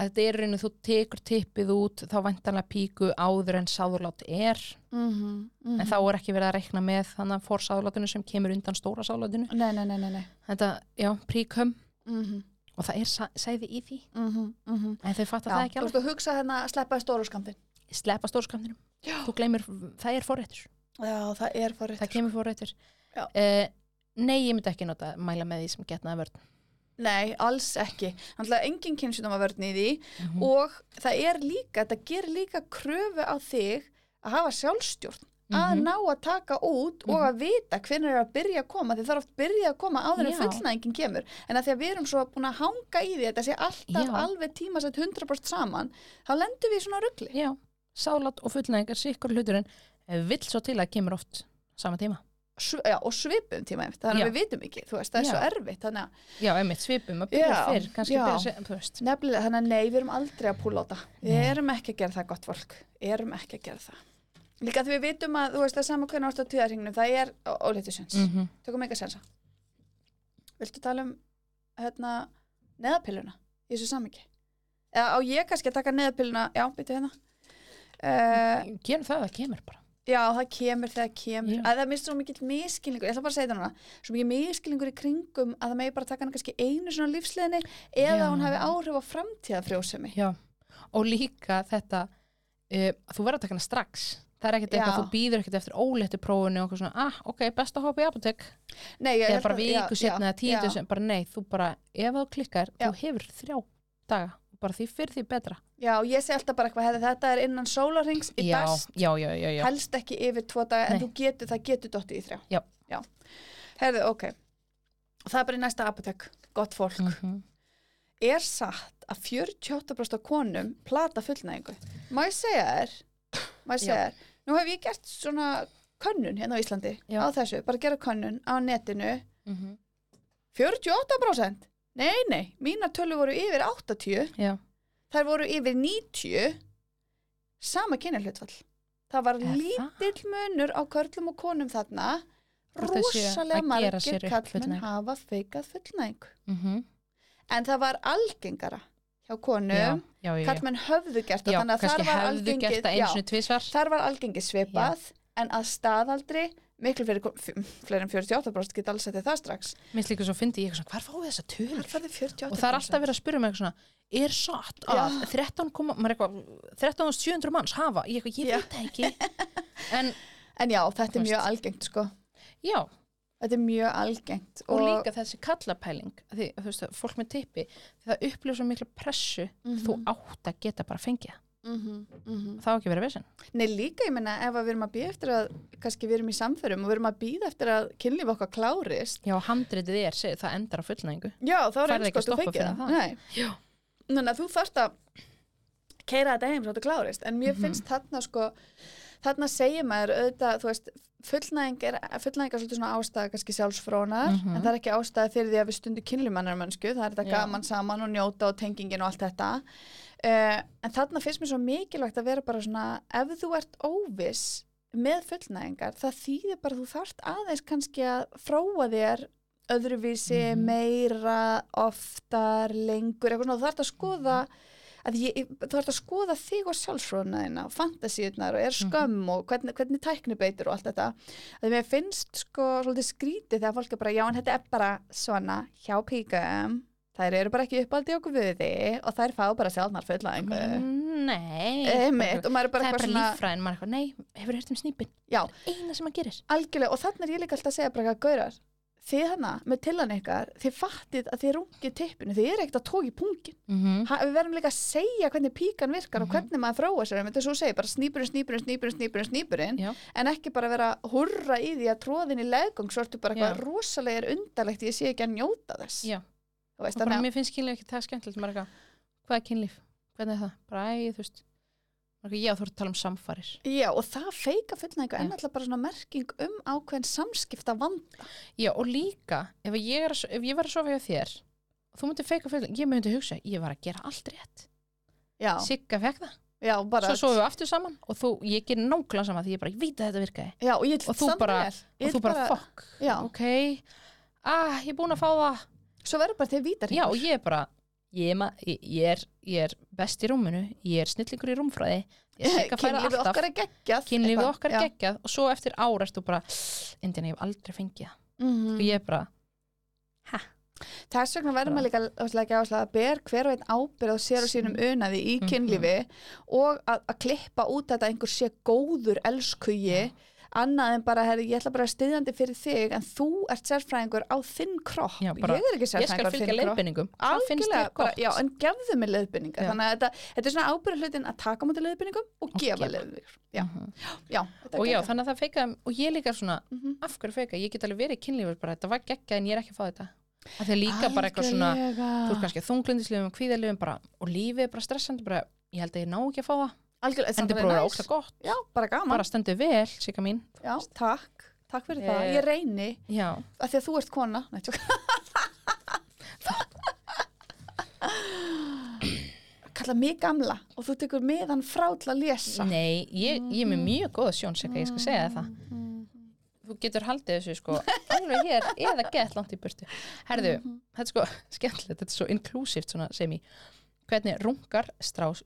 Speaker 1: Að þetta er í rauninu, þú tekur tippið út, þá væntanlega píku áður en sáðurlát er.
Speaker 2: Mm
Speaker 1: en þá er ekki verið að rekna með þannig að fórsáðlátinu sem kemur undan stóra sáðlátinu
Speaker 2: Nei, nei, nei, nei, nei.
Speaker 1: þetta, já, príkum
Speaker 2: Mm -hmm.
Speaker 1: og það er sa- sæði í því
Speaker 2: Mm -hmm. Mm -hmm.
Speaker 1: en þau fattar það ekki
Speaker 2: þú
Speaker 1: alveg,
Speaker 2: veist að hugsa hérna að sleppa í stóru skamdinn.
Speaker 1: sleppa stórskamtinum þú gleymir, það er forréttur
Speaker 2: Já, það er farið.
Speaker 1: það kemur forréttur
Speaker 2: Já.
Speaker 1: uh, nei, ég myndi ekki nota mæla með því sem getnaði vörn
Speaker 2: Nei, alls ekki. Þannig að engin kynsjúdum að í því og það er líka, þetta gerir líka kröfu á þig að hafa sjálfstjórn. að
Speaker 1: Mhm.
Speaker 2: ná að taka út og að vita hvernig er að byrja að koma því það er oft byrja að koma áður en
Speaker 1: Já.
Speaker 2: fullnæðingin kemur en að því að við erum svo búin að hanga í því þetta sé alltaf
Speaker 1: Já.
Speaker 2: alveg tímasett 100% saman þá lendum við í svona ruggli
Speaker 1: já, sáðlát og fullnæðingar sikkur hluturinn eh, vill svo til að kemur oft sama tíma
Speaker 2: Sv já, og svipum tíma eftir þannig
Speaker 1: Já.
Speaker 2: að við vitum ekki þú veist, það er
Speaker 1: Já.
Speaker 2: svo erfitt þannig að
Speaker 1: já, emitt, svipum að byrja
Speaker 2: Já,
Speaker 1: fyrr kannski
Speaker 2: já.
Speaker 1: byrja sem, þú veist
Speaker 2: nefnilega, þannig að nei, við erum aldrei að púla á það við
Speaker 1: Nei.
Speaker 2: erum ekki að gera það gott fólk erum ekki að gera það líka því við vitum að, þú veist, það er sama hvernig ástu á tíðarhingnum það er ólítið sens
Speaker 1: mm
Speaker 2: tökum eitthvað sensa viltu tala um hérna neðapiluna í þessu samingi eða á ég kannski að taka neðapiluna já, byrju hérna uh,
Speaker 1: gerum það, það kemur bara
Speaker 2: já, það kemur þegar kemur
Speaker 1: Já.
Speaker 2: að það er minnst svo mikill miskilningur, ég ætla bara að segja það núna svo mikill miskilningur í kringum að það megi bara taka hana kannski einu svona á lífsleðinni eða
Speaker 1: Já.
Speaker 2: hún hafi áhrif á framtíðafrjósemi
Speaker 1: eh, Já, og líka þetta uh, að þú verður að taka hana strax það er ekkert eitthvað
Speaker 2: Já.
Speaker 1: að þú býður ekkert eftir óléttu prófunu og eitthvað svona, ah, ok, best að hoppa í apotek
Speaker 2: Nei, ég
Speaker 1: eða
Speaker 2: held
Speaker 1: bara
Speaker 2: að- já,
Speaker 1: viku setna
Speaker 2: já,
Speaker 1: eða tíu
Speaker 2: já.
Speaker 1: sem, bara nei, þú bara, ef þú klikkar
Speaker 2: Já.
Speaker 1: þú hefur þrjá daga, bara því fyrir því betra
Speaker 2: Já, ég sé alltaf bara eitthvað, hefði þetta er innan sólarings í
Speaker 1: já,
Speaker 2: best,
Speaker 1: já, já, já, já.
Speaker 2: helst ekki yfir tvo daga, en
Speaker 1: Nei.
Speaker 2: þú getur, það getur dottið í þrjá.
Speaker 1: Já.
Speaker 2: Herðu, ok. Það er bara í næsta apotek, gott fólk.
Speaker 1: Mm
Speaker 2: Er satt að 48% af konum plata fullnæðingu? Má ég segja þér? Má ég segja
Speaker 1: Já.
Speaker 2: þér? Nú hef ég gert svona könnun hérna á Íslandi,
Speaker 1: Já.
Speaker 2: á þessu, bara gera könnun á netinu.
Speaker 1: Mm -hmm.
Speaker 2: 48%? Nei, nei, mínar tölur voru yfir 80%.
Speaker 1: já,
Speaker 2: þær voru yfir 90 sama kynjahlutfall það var
Speaker 1: Er það?
Speaker 2: lítill munur á körlum og konum þarna
Speaker 1: Hvort þau séu
Speaker 2: rosalega
Speaker 1: að gera sér
Speaker 2: margir
Speaker 1: upp
Speaker 2: kallmenn
Speaker 1: fullnægingu.
Speaker 2: hafa feikað fullnæg
Speaker 1: mm
Speaker 2: en það var algengara hjá
Speaker 1: já,
Speaker 2: konum,
Speaker 1: já, já, já.
Speaker 2: kallmenn höfðu gert það
Speaker 1: já
Speaker 2: þannig að
Speaker 1: kannski
Speaker 2: þar var
Speaker 1: hefðu
Speaker 2: algengi
Speaker 1: gert það eins
Speaker 2: já,
Speaker 1: og tvisvar
Speaker 2: þar var algengi svipað en að staðaldri miklu fyrir kon- f- fleiri en 48% geta alls setið það strax
Speaker 1: minnst líka svo fyndi ég eitthvað svona, hvar fáið þessa tölur
Speaker 2: Hvar færðu 48%?
Speaker 1: og það er alltaf verið að spyrja mig eitthvað svona er satt að 13, koma- maður er eitthvað, 13.700 manns hafa ég, eitthvað, ég
Speaker 2: Já.
Speaker 1: veit það ekki en
Speaker 2: en já, þetta
Speaker 1: Þú
Speaker 2: er mjög
Speaker 1: veist.
Speaker 2: algengt sko
Speaker 1: já,
Speaker 2: þetta er mjög algengt
Speaker 1: og líka þessi kallapæling því, þú veist, að fólk með tippi það upplifir svo miklu pressu þú
Speaker 2: Mhm.
Speaker 1: átt að geta bara fengið það.
Speaker 2: Mhm, mhm.
Speaker 1: það á ekki verið vesinn
Speaker 2: Nei, líka ég menna ef að við erum að býða eftir að, kannski við erum í samförum og við erum að býða eftir að kynlíf okkar klárist,
Speaker 1: já, handritið er, segir, það endar á fullnæðingu
Speaker 2: já, þá er
Speaker 1: Færðu
Speaker 2: eins
Speaker 1: ekki
Speaker 2: gott
Speaker 1: að
Speaker 2: að
Speaker 1: stoppa
Speaker 2: fengja
Speaker 1: fyrir
Speaker 2: það.
Speaker 1: það.
Speaker 2: Nei. Þannig að þú þarft að keira þetta heim svo þetta klárist, en mér
Speaker 1: Mhm.
Speaker 2: finnst þarna sko, þarna segir maður auðvitað, þú veist, fullnæðing er, fullnæðing er svolítið svona ástæða kannski sjálfsfrónar,
Speaker 1: Mhm.
Speaker 2: en það er ekki ástæða fyrir því að við stundum kynlímannar mennsku, það er þetta
Speaker 1: Já.
Speaker 2: gaman saman og njóta og tengingin og allt þetta. Uh, en þarna finnst mér svo mikilvægt að vera bara svona, ef þú ert óviss með fullnæðingar, það þýðir bara að þú þarft aðeins kannski að fróa þér öðruvísi,
Speaker 1: Mhm.
Speaker 2: meira, oftar, lengur, eitthvað svona, þú þarft að
Speaker 1: Mhm.
Speaker 2: skoða að ég, þú ert að skoða þig og sjálfsfrónaðina og fantasíunar og er
Speaker 1: Mhm.
Speaker 2: skömm og hvernig, hvernig tækni beitir og allt þetta að mér finnst sko svolítið skrítið þegar fólk er bara já en þetta er bara svona hjá píkum þær eru bara ekki uppaldi okkur við því og þær fá bara sjálfnar fulla einhverju
Speaker 1: nei
Speaker 2: Einmitt, og maður er
Speaker 1: Mhm. það
Speaker 2: bara
Speaker 1: er bara
Speaker 2: eitthvað svona
Speaker 1: líffræðin, maður er eitthvað, nei, hefur þú heyrt um snýpin
Speaker 2: já,
Speaker 1: eina sem maður gerir
Speaker 2: algjörlega, og þannig er ég líka alltaf að segja bara eitthvað gaurar, þið hana með tilan ykkar þið fattið að þið rungið tippinu þið eru ekkert að tóki pungin
Speaker 1: mm
Speaker 2: ha, við verðum líka að segja hvernig píkan virkar
Speaker 1: Mhm.
Speaker 2: og hvernig maður þróa sér, þetta er svo að segja bara snýpurinn, snýpurinn, snýpurinn, snýpurinn, snýpurinn
Speaker 1: Já.
Speaker 2: en ekki bara vera að hurra í því að tróðin í leðgang svo ertu bara eitthvað rosalega er undarlegt ég sé ekki að njóta þess
Speaker 1: Já.
Speaker 2: Þú veist,
Speaker 1: og bara
Speaker 2: þannig,
Speaker 1: mér finnst kynlíf ekki það skemmtilegt maður er eitthvað, hvað er kynlíf, hvernig er það bara, æ, þú veist maður er eitthvað, já, þú ert að tala um samfarir
Speaker 2: að- já, og það feika fullnæðingu en
Speaker 1: Já.
Speaker 2: alltaf bara svona merking um ákveðin samskipta vand
Speaker 1: já, og líka, ef ég, er, að s- ef ég var að sofa hjá þér þú myndir feika fullnæðingu, ég myndi hugsa ég var að gera allt rétt,
Speaker 2: já,
Speaker 1: Sigga fekk það
Speaker 2: já, bara
Speaker 1: svo sofum við aftur saman og þú, ég ger nákvæmlega saman því ég bara, ég veit að þetta virkaði
Speaker 2: já, og, ég,
Speaker 1: Og þú
Speaker 2: samt
Speaker 1: bara-
Speaker 2: vel. Ég
Speaker 1: og þú
Speaker 2: vil
Speaker 1: bara, fuck,
Speaker 2: já,
Speaker 1: ok ah, ég er búin að fá það
Speaker 2: svo verður bara þið vítar
Speaker 1: já, og ég er bara, ég er, ma- ég- ég er, ég er best í rúminu, ég er snillingur í rúmfræði ég er Sigga færa
Speaker 2: kynlífið
Speaker 1: alltaf
Speaker 2: okkar er geggjað
Speaker 1: kynlífið
Speaker 2: eitthvað,
Speaker 1: okkar
Speaker 2: já.
Speaker 1: er geggjað og svo eftir ára ertu bara, Indiana, ég hef aldrei fengið það
Speaker 2: Mhm.
Speaker 1: og Sko, ég er bara,
Speaker 2: Þess vegna verður maður líka að leggja áslag að ber hver og einn ábyrð á sér og sínum unaði í
Speaker 1: Mhm.
Speaker 2: kynlífi og að, að klippa út þetta að einhver sé góður elskuji annað en bara, herri, ég ætla bara stiðjandi fyrir þig en þú ert sérfræðingur á þinn kropp
Speaker 1: Já, bara,
Speaker 2: ég er ekki
Speaker 1: ég skal fylgja
Speaker 2: sérfræðingur á þinn kropp
Speaker 1: leiðbenningum hvað finnst
Speaker 2: Algjörlega,
Speaker 1: þér
Speaker 2: bara,
Speaker 1: gott
Speaker 2: já, en gefðu mér leiðbynningar
Speaker 1: Já.
Speaker 2: þannig að þetta, þetta er svona ábyrð hlutin að taka á mútið leiðbynningum og gefa
Speaker 1: gefa.
Speaker 2: leiðbynningar já,
Speaker 1: Mhm.
Speaker 2: já, þetta er
Speaker 1: og já,
Speaker 2: geggjað.
Speaker 1: þannig að það feikaði og ég líka svona,
Speaker 2: Mhm.
Speaker 1: af hverju feika ég get alveg verið í kynlífur bara, þetta var geggja en ég er ekki að fá þetta að því að líka bara eitthvað svona
Speaker 2: Algjörlega.
Speaker 1: þú er kannski þunglindislifum, kvíðalifum bara, og lífið er bara stressandi bara, ég held að ég ná ekki að fá það
Speaker 2: Algjörlega,
Speaker 1: en
Speaker 2: samt
Speaker 1: þetta er
Speaker 2: alveg
Speaker 1: bara
Speaker 2: næs.
Speaker 1: ókslega gott,
Speaker 2: já, bara gaman
Speaker 1: bara stendur vel síka mín,
Speaker 2: Já, takk, takk fyrir
Speaker 1: Ég-
Speaker 2: það. Ég reyni,
Speaker 1: já,
Speaker 2: af því að þú ert kona. Nei, tjók. Kalla mig gamla og þú tekur meðan frá til að lesa.
Speaker 1: nei ég, ég
Speaker 2: Mhm.
Speaker 1: er með mjög góða sjón, síka, ég skal segja þér það þú getur haldið þessu sko alveg hér eða gett langt í burtu herðu,
Speaker 2: Mhm.
Speaker 1: þetta er sko skemmtilegt þetta er svo inklusíft svona sem í hvernig rungar strás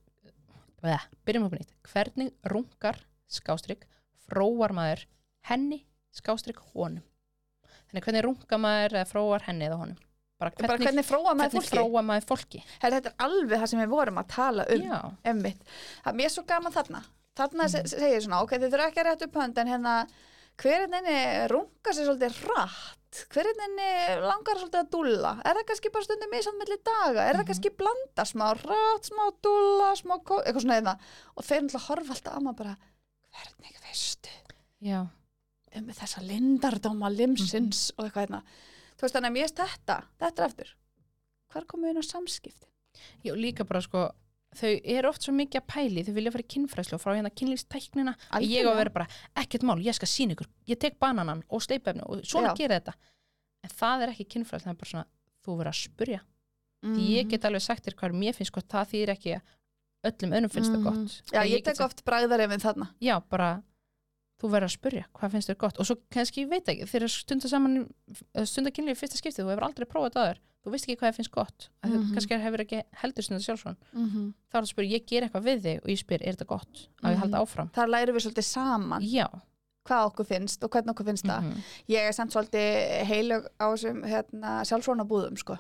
Speaker 1: Bleh, byrjum upp á nýtt, hvernig rungar skástrygg, fróar maður henni, skástrygg, honum þannig hvernig rungar maður eða fróar henni eða honum bara
Speaker 2: Hvernig, bara
Speaker 1: hvernig, hvernig,
Speaker 2: hvernig fróa maður fólki.
Speaker 1: fróa maður fólki
Speaker 2: Herra, þetta er alveg það sem við vorum að tala um.
Speaker 1: já,
Speaker 2: Einmitt. Það er mér svo gaman þarna. þarna se- segir svona, ok, þið þurfa ekki að rétt upp hönd en hérna, hverinni runga sér svolítið rætt hverinni langar svolítið að dúlla er það kannski bara stundum í samt milli daga er það
Speaker 1: Mhm.
Speaker 2: kannski blanda smá rætt, smá dúlla smá kó, eitthvað svona eða og þeir náttúrulega horfa alltaf að maður bara hvernig veistu
Speaker 1: já,
Speaker 2: um þessa lindardóma limsins
Speaker 1: Mhm.
Speaker 2: og eitthvað hérna þú veist þannig að mér erst þetta, þetta er aftur hvar komum við inn á samskipti
Speaker 1: já, líka bara sko þau eru oft svo mikið að pæli, þau vilja fara í kynfræslu og frá hérna kynlífstæknina Algjörlega. ég á að vera bara, ekkert mál, ég skal sína ykkur ég tek bananan og steipefni og svona
Speaker 2: Já.
Speaker 1: gera þetta en það er ekki kynfræslu, það er bara svona þú verður að spurja,
Speaker 2: mm
Speaker 1: því ég get alveg sagt þér hvað mér finnst gott, það þýðir ekki að öllum önnum finnst
Speaker 2: Mhm.
Speaker 1: það gott Sko,
Speaker 2: Já,
Speaker 1: En get
Speaker 2: ég, tek oft bræðarið minn þarna
Speaker 1: já, bara þú verður að spurja, hvað finnst þér gott og svo kannski, ég veit ekki, þegar stunda saman stunda kynlíf í fyrsta skiptið, þú hefur aldrei prófað það aður þú veist ekki hvað þér finnst gott mm -hmm.
Speaker 2: Mhm.
Speaker 1: kannski hefur ekki heldur stunda sjálfsvon
Speaker 2: mm -hmm.
Speaker 1: þá er það að spyrja, ég ger eitthvað við þig og ég spyr, er þetta gott að ég
Speaker 2: Mhm.
Speaker 1: halda áfram
Speaker 2: Þar lærum við svolítið saman
Speaker 1: já,
Speaker 2: hvað okkur finnst og hvernig okkur finnst
Speaker 1: mhm.
Speaker 2: það Ég er samt svolítið heilug á þessum hérna, sjálfsvona búðum sko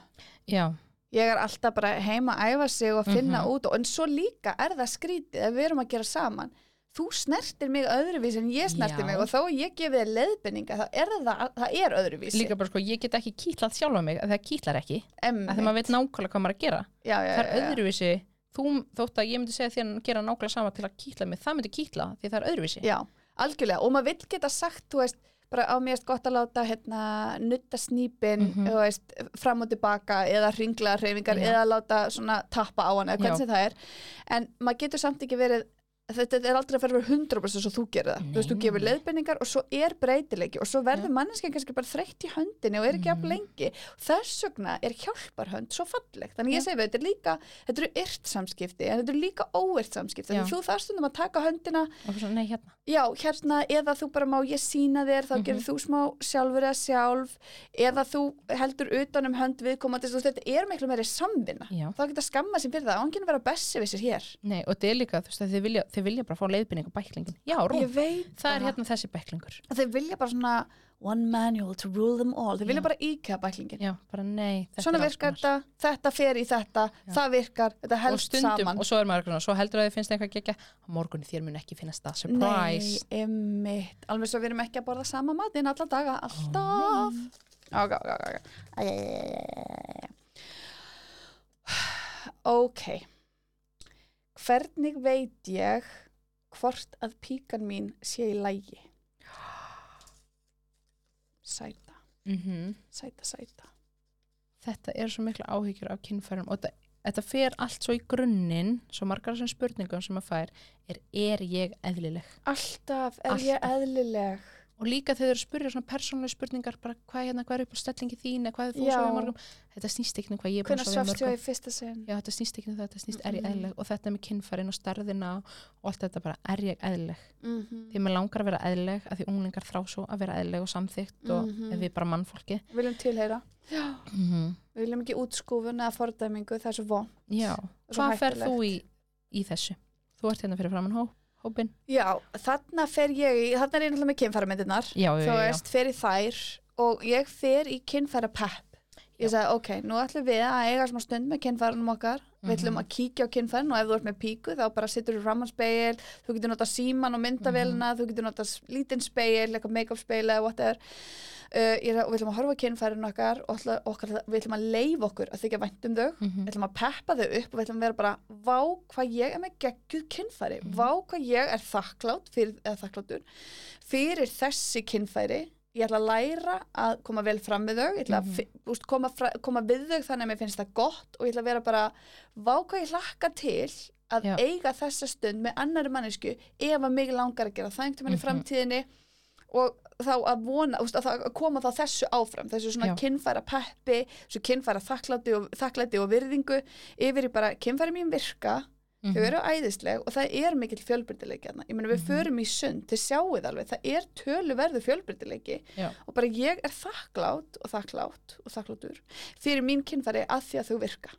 Speaker 1: já,
Speaker 2: Ég er alltaf bara heima að æfa sig og að finna
Speaker 1: Mhm.
Speaker 2: út og, en svo líka er það skrítið að við erum að gera saman Þú snertir mig öðruvís en ég snertir
Speaker 1: Já.
Speaker 2: mig og þó ég gefi þér leiðbendinga þá er það, það er öðruvísi
Speaker 1: líka bara sko, ég get ekki kýtlað sjálfa mig, að það kýtlar ekki
Speaker 2: Emmi.
Speaker 1: að þegar maður veit nákvæmlega hvað maður að gera
Speaker 2: já, já,
Speaker 1: það er
Speaker 2: já, Eh, já.
Speaker 1: öðruvísi, þú, þótt að ég myndi segja þér að gera nákvæmlega sama til að kýtla mig, það myndi kýtla því það er öðruvísi
Speaker 2: Já, algjörlega og maður vill geta sagt, þú veist, bara á mér erst gott að láta hérna nutta snípin
Speaker 1: Mhm.
Speaker 2: þú veist, fram og tilbaka eða ringla hreyfingar
Speaker 1: Já.
Speaker 2: eða láta svona tappa á hana, hvernig
Speaker 1: Já.
Speaker 2: sem það er en maður getur samt ekki verið þetta er aldrei að fara að vera 100% svo þú gerir það
Speaker 1: Nei,
Speaker 2: þú veist, þú
Speaker 1: nei,
Speaker 2: gefur
Speaker 1: nei.
Speaker 2: leiðbendingar og svo er breytileiki og svo verður
Speaker 1: Já.
Speaker 2: manneskinn kannski bara þreytt í höndinni og er ekki mm
Speaker 1: Mhm.
Speaker 2: lengi þess vegna er hjálparhönd svo fallegt þannig ég
Speaker 1: Já.
Speaker 2: segi við, þetta er líka þetta eru yrt samskipti en þetta eru líka óyrt samskipti
Speaker 1: Já.
Speaker 2: Þannig þú þarf stundum að taka höndina
Speaker 1: og svona, nei, hérna,
Speaker 2: Já, hérna, eða þú bara má ég sína þér, þá
Speaker 1: Mhm.
Speaker 2: gerir þú smá sjálfur eða sjálf, eða þú heldur utan um hönd viðkomandi, þú veist, þetta er miklu meiri samvinna.
Speaker 1: já
Speaker 2: Þá geta skamma sér fyrir það, án að vera bessi við sér hér.
Speaker 1: Nei, og þetta er líka, þú veist, að þið vilja, þið vilja bara fá leiðbynning á bæklingin. Já, rúm,
Speaker 2: Ég veit
Speaker 1: það er
Speaker 2: bara.
Speaker 1: hérna þessi bæklingur.
Speaker 2: Þeir vilja bara svona one manual to rule them all, þeir vilja
Speaker 1: Já.
Speaker 2: bara íkja bæklingin.
Speaker 1: Já, bara nei, þetta
Speaker 2: Svona
Speaker 1: er alls
Speaker 2: virkar
Speaker 1: konar.
Speaker 2: þetta, þetta fer í þetta,
Speaker 1: Já.
Speaker 2: það virkar, þetta
Speaker 1: og
Speaker 2: helst
Speaker 1: stundum,
Speaker 2: saman.
Speaker 1: og svo er maður eitthvað svona, svo heldur að þið finnst eitthvað gegja, á morgunni þér mun ekki finnast það, surprise.
Speaker 2: Nei, emmitt, alveg svo við erum ekki að borða sama matinn alla daga, alltaf.
Speaker 1: Nei.
Speaker 2: Ok, ok, ok, ok. Æ, æ, æ, æ, æ, æ, æ. Ok. Hvernig veit ég hvort að píkan mín sé í lægi? Sæta,
Speaker 1: Mhm.
Speaker 2: sæta, sæta.
Speaker 1: Þetta er svo mikla áhyggjur af kynfærum og þetta, þetta fer allt svo í grunninn, svo margar af þessum spurningum sem maður fær, er, er ég eðlileg?
Speaker 2: Alltaf er ég
Speaker 1: Alltaf.
Speaker 2: eðlileg.
Speaker 1: Og líka þegar þau eru að spurja svona persónlega spurningar, bara hvað er hérna, hvað er upp á stellingi þín, eða hvað er þú
Speaker 2: Já.
Speaker 1: svo við morgum, þetta snýst ekki um hvað ég er búin
Speaker 2: Hvernig
Speaker 1: að svo við
Speaker 2: svafst ég
Speaker 1: morgum.
Speaker 2: í fyrsta sinn?
Speaker 1: já, þetta snýst ekki um þetta, þetta snýst er ég
Speaker 2: Mhm.
Speaker 1: eðlileg og þetta með kynfærin og stærðina og allt þetta bara, er ég eðlileg
Speaker 2: Mm
Speaker 1: því mér langar að vera eðlileg, að því unglingar þrá svo að vera eðlileg og samþygt og
Speaker 2: Mhm.
Speaker 1: við bara mannfólki
Speaker 2: Viljum tilheyra.
Speaker 1: mm
Speaker 2: Við viljum ekki útskúfun eða fordæmingu, það er svo von.
Speaker 1: já,
Speaker 2: Svo
Speaker 1: hvað fer
Speaker 2: hættulegt.
Speaker 1: þú í, í þessu? Þú ert hérna fyrir framann hó, hópin
Speaker 2: Já, þarna fer ég, í- þarna er ég náttúrulega með kynfæramyndirnar.
Speaker 1: já, já,
Speaker 2: þú
Speaker 1: já, já,
Speaker 2: veist, fer í þær og ég fer í kynfæra pepp ég sagði, ok, nú ætlum við að eiga smá stund með kynfærunum okkar við
Speaker 1: Mhm.
Speaker 2: ætlum að kíkja á kynfærin og ef þú ert með píku þá bara sittur þú rammanspeil þú getur notað síman og myndavélina
Speaker 1: Mhm.
Speaker 2: þú getur notað s- lítinn speil, eitthvað make-up speil eða whatever uh, ég, sagði, og við ætlum að horfa á kynfærin okkar og ætla- okkar, við ætlum að leifa okkur að þykja vænt um þau
Speaker 1: Mhm.
Speaker 2: við ætlum að peppa þau upp og við ætlum að vera bara vá hvað ég er með geggjuð kynfæri vá hvað ég er þakklátt fyrir, eða þakkláttur fyrir þessi kynfæri ég ætla að læra að koma vel fram við þau ég ætla að
Speaker 1: Mhm.
Speaker 2: fi- úst, koma, fra, koma við þau þannig að mér finnst það gott og ég ætla að vera bara vá hvað ég hlakka til að
Speaker 1: Já.
Speaker 2: eiga þessa stund með annari mannesku ef að mig langar að gera það einhvern veginn í
Speaker 1: Mhm.
Speaker 2: framtíðinni og þá að vona, úst, að, það, að koma þá þessu áfram, þessu svona
Speaker 1: Já.
Speaker 2: kynfæra peppi, þessu kynfæra þakklæti og, þakklæti og virðingu yfir í bara kynfæri mín virka, þau
Speaker 1: Mhm.
Speaker 2: eru æðisleg og það er mikill fjölbreytileiki hérna. Ég meina við
Speaker 1: Mhm.
Speaker 2: förum í sund, þið sjáuð alveg, það er töluverðu fjölbreytileiki
Speaker 1: Já.
Speaker 2: og bara ég er þakklátt og þakklátt og þakkláttur fyrir mín kynfæri að því að þau virka.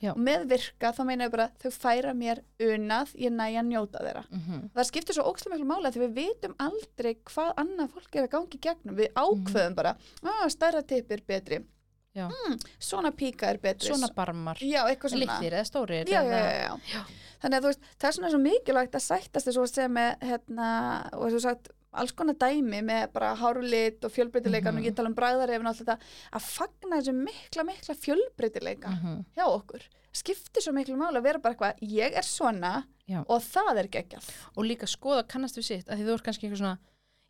Speaker 1: Já.
Speaker 2: Og með virka þá meina ég bara þau færa mér unað, ég næ að njóta þeirra
Speaker 1: Mhm.
Speaker 2: það skiptir svo ókslega miklu mála því við vitum aldrei hvað annað fólk "Ah, er að gangi gegnum við ákveðum bara, að stærra tipp er betri
Speaker 1: Mhm. Já.
Speaker 2: mm, svona píka er betri
Speaker 1: svona barmar,
Speaker 2: já, eitthvað svona
Speaker 1: litlir eða stórir
Speaker 2: já, já,
Speaker 1: eða-
Speaker 2: já, já. þannig að þú veist, það er svona svo mikilvægt að sættast þessu að segja með hérna, og þessu sagt alls konar dæmi með bara hárulit og fjölbreytileikan
Speaker 1: Mhm.
Speaker 2: og ég tala um bræðarefin og allt þetta að fagna þessu mikla, mikla fjölbreytileika
Speaker 1: Mhm.
Speaker 2: hjá okkur skiptir svo miklu máli að vera bara eitthvað ég er svona
Speaker 1: Já.
Speaker 2: og það er geggjall
Speaker 1: og líka skoða kannast við sitt að því þú ert kannski eitthvað svona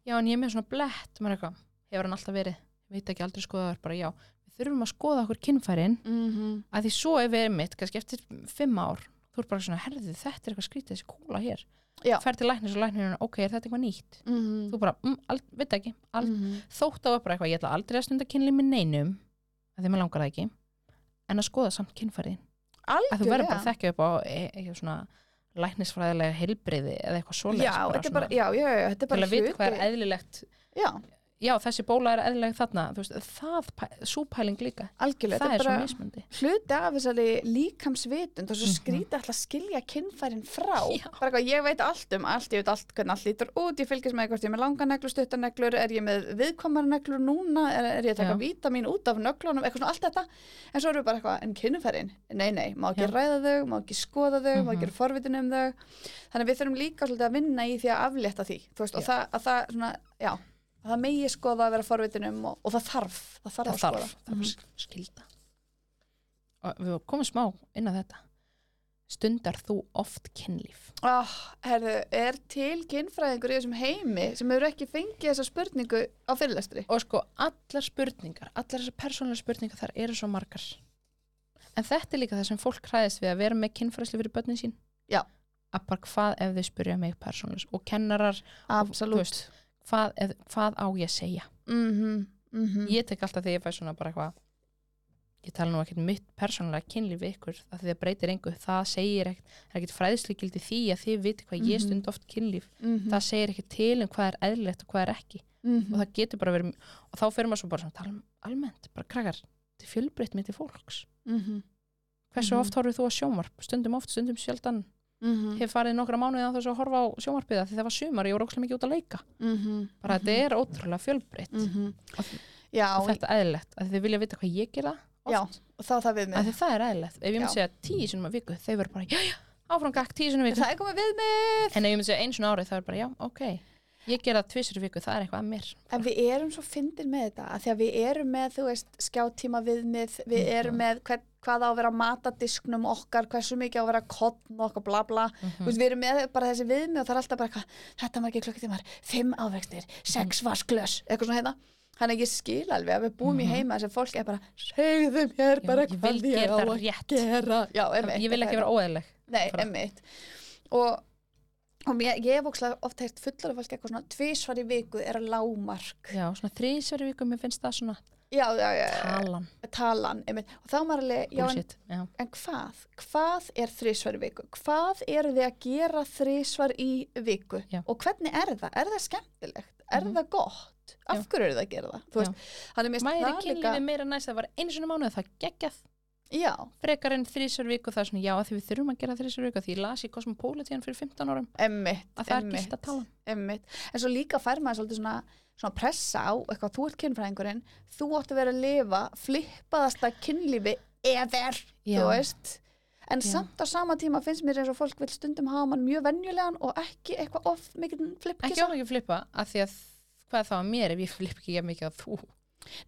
Speaker 1: já en ég er með svona blett maður er eitthvað, hefur hann alltaf verið veit ekki aldrei skoðaður bara já við þurfum að skoða okkur kynfærin
Speaker 2: mm -hmm.
Speaker 1: að því svo ef við erum mitt kannski eftir fimm ár þú ert bara svona herðið þetta er eitthvað skrítið þessi kúla hér
Speaker 2: Já.
Speaker 1: fer til læknis og læknirinn ok er þetta eitthvað nýtt
Speaker 2: Mm -hmm.
Speaker 1: þú bara mm, al, veit ekki al,
Speaker 2: -hmm.
Speaker 1: þótt á að bara eitthvað ég ætla aldrei að stunda kynlið með neinum að því maður langar það ekki en að skoða samt kynfærin að þú verður bara að þekkja upp á e, e, svona læknisfræðilega heilbriði eða eitthvað svoleiðis
Speaker 2: já, þetta er
Speaker 1: svona
Speaker 2: bara, já, já, já, þetta er
Speaker 1: til
Speaker 2: bara
Speaker 1: að vita
Speaker 2: hluti.
Speaker 1: hvað er eðlilegt
Speaker 2: já,
Speaker 1: já þessi bóla er eðlileg þarna þú veist, það, súpæling líka
Speaker 2: algjörlega,
Speaker 1: það er
Speaker 2: þetta er
Speaker 1: svo
Speaker 2: bara
Speaker 1: mismandi
Speaker 2: hluti af þessari líkamsvitund og svo
Speaker 1: Mhm.
Speaker 2: skrýti alltaf að skilja kynfærin frá
Speaker 1: Já.
Speaker 2: bara eitthvað, ég veit allt um allt, ég veit allt hvernig allt lítur út, ég fylgist með hvort ég er með langaneglur, stuttaneglur, er ég með viðkomarneglur núna, er, er ég að taka
Speaker 1: Já.
Speaker 2: vítamín út af nöglunum, eitthvað svona allt þetta en svo erum við bara eitthvað, en kynfærin, nei, nei má ekki
Speaker 1: Já.
Speaker 2: ræða þau, má ekki skoða þau,
Speaker 1: Mhm.
Speaker 2: má ekki vera forvitin um þau, þannig að við þurfum líka svolítið að vinna í því að aflétta því, þú veist, og
Speaker 1: Já.
Speaker 2: það, að það svona, já, að það megi skoða að vera forvitin um og, og það þarf, það
Speaker 1: það
Speaker 2: þarf að skoða.
Speaker 1: þarf, það
Speaker 2: Mhm.
Speaker 1: er bara skilda og við komum smá inn á þetta stundar þú oft kynlíf
Speaker 2: Oh, herðu, er til kynfræðingur í þessum heimi sem hefur ekki fengið þessa spurningu á fyrirlestri?
Speaker 1: og sko allar spurningar allar þessar persónlega spurningar þar eru svo margar en þetta er líka það sem fólk hræðist við að vera með kynfræðslu fyrir börnin sín
Speaker 2: Já.
Speaker 1: að bara hvað ef þau spurja mig persónlega og kennarar, þú
Speaker 2: Absolutt.
Speaker 1: veist, hvað, ef, hvað á ég að segja
Speaker 2: Mm -hmm, mm -hmm.
Speaker 1: ég tek alltaf þegar ég fæ svona bara eitthvað ég tala nú ekkert um mitt persónulega kynlíf við ykkur af því það breytir engu, það segir ekkert það er ekkert fræðslugildi því að þið viti hvað ég
Speaker 2: Mhm.
Speaker 1: stund oft kynlíf,
Speaker 2: Mm
Speaker 1: það segir ekkert til um hvað er eðlilegt og hvað er ekki
Speaker 2: mhm,
Speaker 1: og það getur bara verið, og þá fyrir maður svo bara svona, tala um almennt, bara krakkar til fjölbreytt mitt í fólks, hversu
Speaker 2: Mhm.
Speaker 1: oft horfið þú á sjónvarp stundum oft, stundum sjaldan, hefur farið nokkra mánuði á þess að horfa á sjónvarpiða því það var sumar, ég var ókslega mikið út að leika
Speaker 2: mhm,
Speaker 1: bara þetta er ótrúlega fjölbreytt
Speaker 2: Já,
Speaker 1: og þetta eðlilegt, að þið vilja vita hvað ég gera
Speaker 2: já, og þá er það við
Speaker 1: að
Speaker 2: mig.
Speaker 1: því það er eðlilegt ef ég myndi
Speaker 2: Já.
Speaker 1: segja tíu sinum að viku þau verður bara, já, já, áfram gakk tíu sinum að viku
Speaker 2: Það er komið við mig.
Speaker 1: en ef ég myndi segja einu sinum árið það er bara, já, ok ég gera það tvisur viku, það er eitthvað að mér
Speaker 2: En við erum svo fyndin með þetta, að því að við erum með, þú veist, skjáttíma viðmið, við
Speaker 1: Mhm.
Speaker 2: erum með hver, hvað á að vera á matadisknum okkar, hversu mikið á að vera kottn okkar, bla bla,
Speaker 1: Mhm.
Speaker 2: Þú veist, við erum með bara þessi viðmið og það er alltaf bara eitthvað, þetta margir klukkutímar, fimm ávextir, sex vasklös, eitthvað svona hérna. Þannig að ég skil alveg að við búum
Speaker 1: Mhm.
Speaker 2: í heima þess að fólk er bara, segðu mér bara
Speaker 1: ég
Speaker 2: hvað
Speaker 1: vil
Speaker 2: ég á
Speaker 1: gera það
Speaker 2: að
Speaker 1: rétt
Speaker 2: gera. Já, emmitt.
Speaker 1: ég vil ekki vera óeðleg
Speaker 2: Nei,
Speaker 1: bara-
Speaker 2: emmitt. Og, og mér, ég hef ókslega oft heyrt fullara fólk eitthvað svona, tvísvar í viku er að lágmark.
Speaker 1: já, svona þrísveru viku, mér finnst það svona
Speaker 2: Já, já, já, já,
Speaker 1: talan,
Speaker 2: talan, emmitt. Og þá er maður alveg, Eh, já, en,
Speaker 1: bullshit já,
Speaker 2: en hvað? Hvað er þrísvar í viku? Hvað eru þið að gera þrísvar í viku?
Speaker 1: Já.
Speaker 2: Og hvernig er það? Er það skemmtilegt? Er
Speaker 1: Mhm.
Speaker 2: það gott? Af
Speaker 1: Já.
Speaker 2: hverju eru það að gera það? Þú
Speaker 1: Já.
Speaker 2: veist, hann er mest
Speaker 1: maður er
Speaker 2: það
Speaker 1: kynlífið meira næst það var einu sinum mánuð, það geggjað
Speaker 2: Já,
Speaker 1: frekar en þrísveru viku, það er svona, já, að því við þurfum að gera þrísveru viku, af því ég las í Cosmopolitan fyrir 15 árum,
Speaker 2: emmitt,
Speaker 1: að það er gilt að tala
Speaker 2: emmitt. En svo líka fær maður svolítið svona, svona pressa á eitthvað, þú ert kynfræðingurinn, þú átt að vera að lifa flippaðasta kynlífi ever,
Speaker 1: Já.
Speaker 2: þú veist. En
Speaker 1: Já.
Speaker 2: samt á sama tíma finnst mér eins og fólk vil stundum hafa mann mjög venjulegan og ekki eitthvað of mikið
Speaker 1: ekki
Speaker 2: flippkissa.
Speaker 1: ofan ekki flippa, að því að hvað er þá að mér ef ég flipp ekki jafn mikið að þú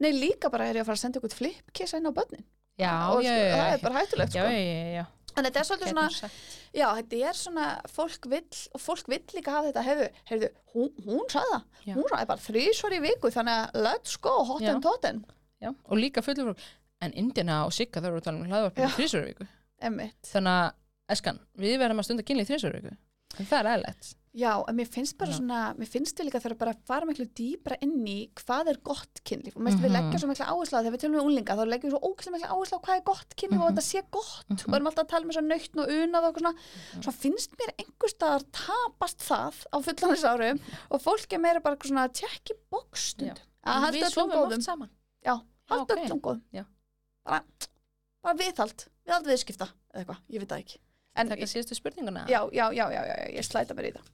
Speaker 2: Nei, líka bara er ég að fara að senda ykkur flippkissa inn á börnin.
Speaker 1: já,
Speaker 2: Og
Speaker 1: já,
Speaker 2: sko,
Speaker 1: já,
Speaker 2: það
Speaker 1: já,
Speaker 2: er bara hættulegt,
Speaker 1: já, Hérna.
Speaker 2: sko.
Speaker 1: já, já, já.
Speaker 2: En þetta er svolítið svona,
Speaker 1: Getum sagt.
Speaker 2: já, þetta er svona, fólk vill, og fólk vill líka hafa þetta, heyrðu, heyrðu, hún, hún sagði það,
Speaker 1: Já.
Speaker 2: hún sagði bara þrísvar í viku, þannig að let's go, hot
Speaker 1: Já.
Speaker 2: and totten,
Speaker 1: Já, og líka fullur fólk en Indina og Sigga þau eru að tala um hlaðvarpinu
Speaker 2: Já.
Speaker 1: þrísveru viku
Speaker 2: emmitt.
Speaker 1: þannig að eskan, við verðum að stunda kynlið þrísveru viku en það er eðlætt
Speaker 2: Já, en mér finnst bara
Speaker 1: Já.
Speaker 2: svona, mér finnst við líka þegar bara að fara miklu dýbra inn í hvað er gott kynlíf og mér finnst við
Speaker 1: Mhm.
Speaker 2: leggja svo mikla áherslu á þegar við tölum við unglinga, þá leggjum við svo ógeðslega mikla áherslu á hvað er gott kynlíf og
Speaker 1: Mhm.
Speaker 2: þetta sé gott
Speaker 1: Mhm.
Speaker 2: og erum alltaf að tala með svo nöytn og unað og okkur svona, svo finnst mér einhverstaðar tapast það á fullanis árum og fólk er meira bara eitthvað svona tjekki bókstund, að halda
Speaker 1: við
Speaker 2: öllum góðum.
Speaker 1: oft saman
Speaker 2: Já, halda
Speaker 1: ok.
Speaker 2: öllum góðum
Speaker 1: Já.
Speaker 2: bara, bara viðhald viðhald viðskipta eða eitthvað, ég veit það ekki en,
Speaker 1: Taka síðustu spurninguna
Speaker 2: já, já, já, já, já, já, ég slæta mér í það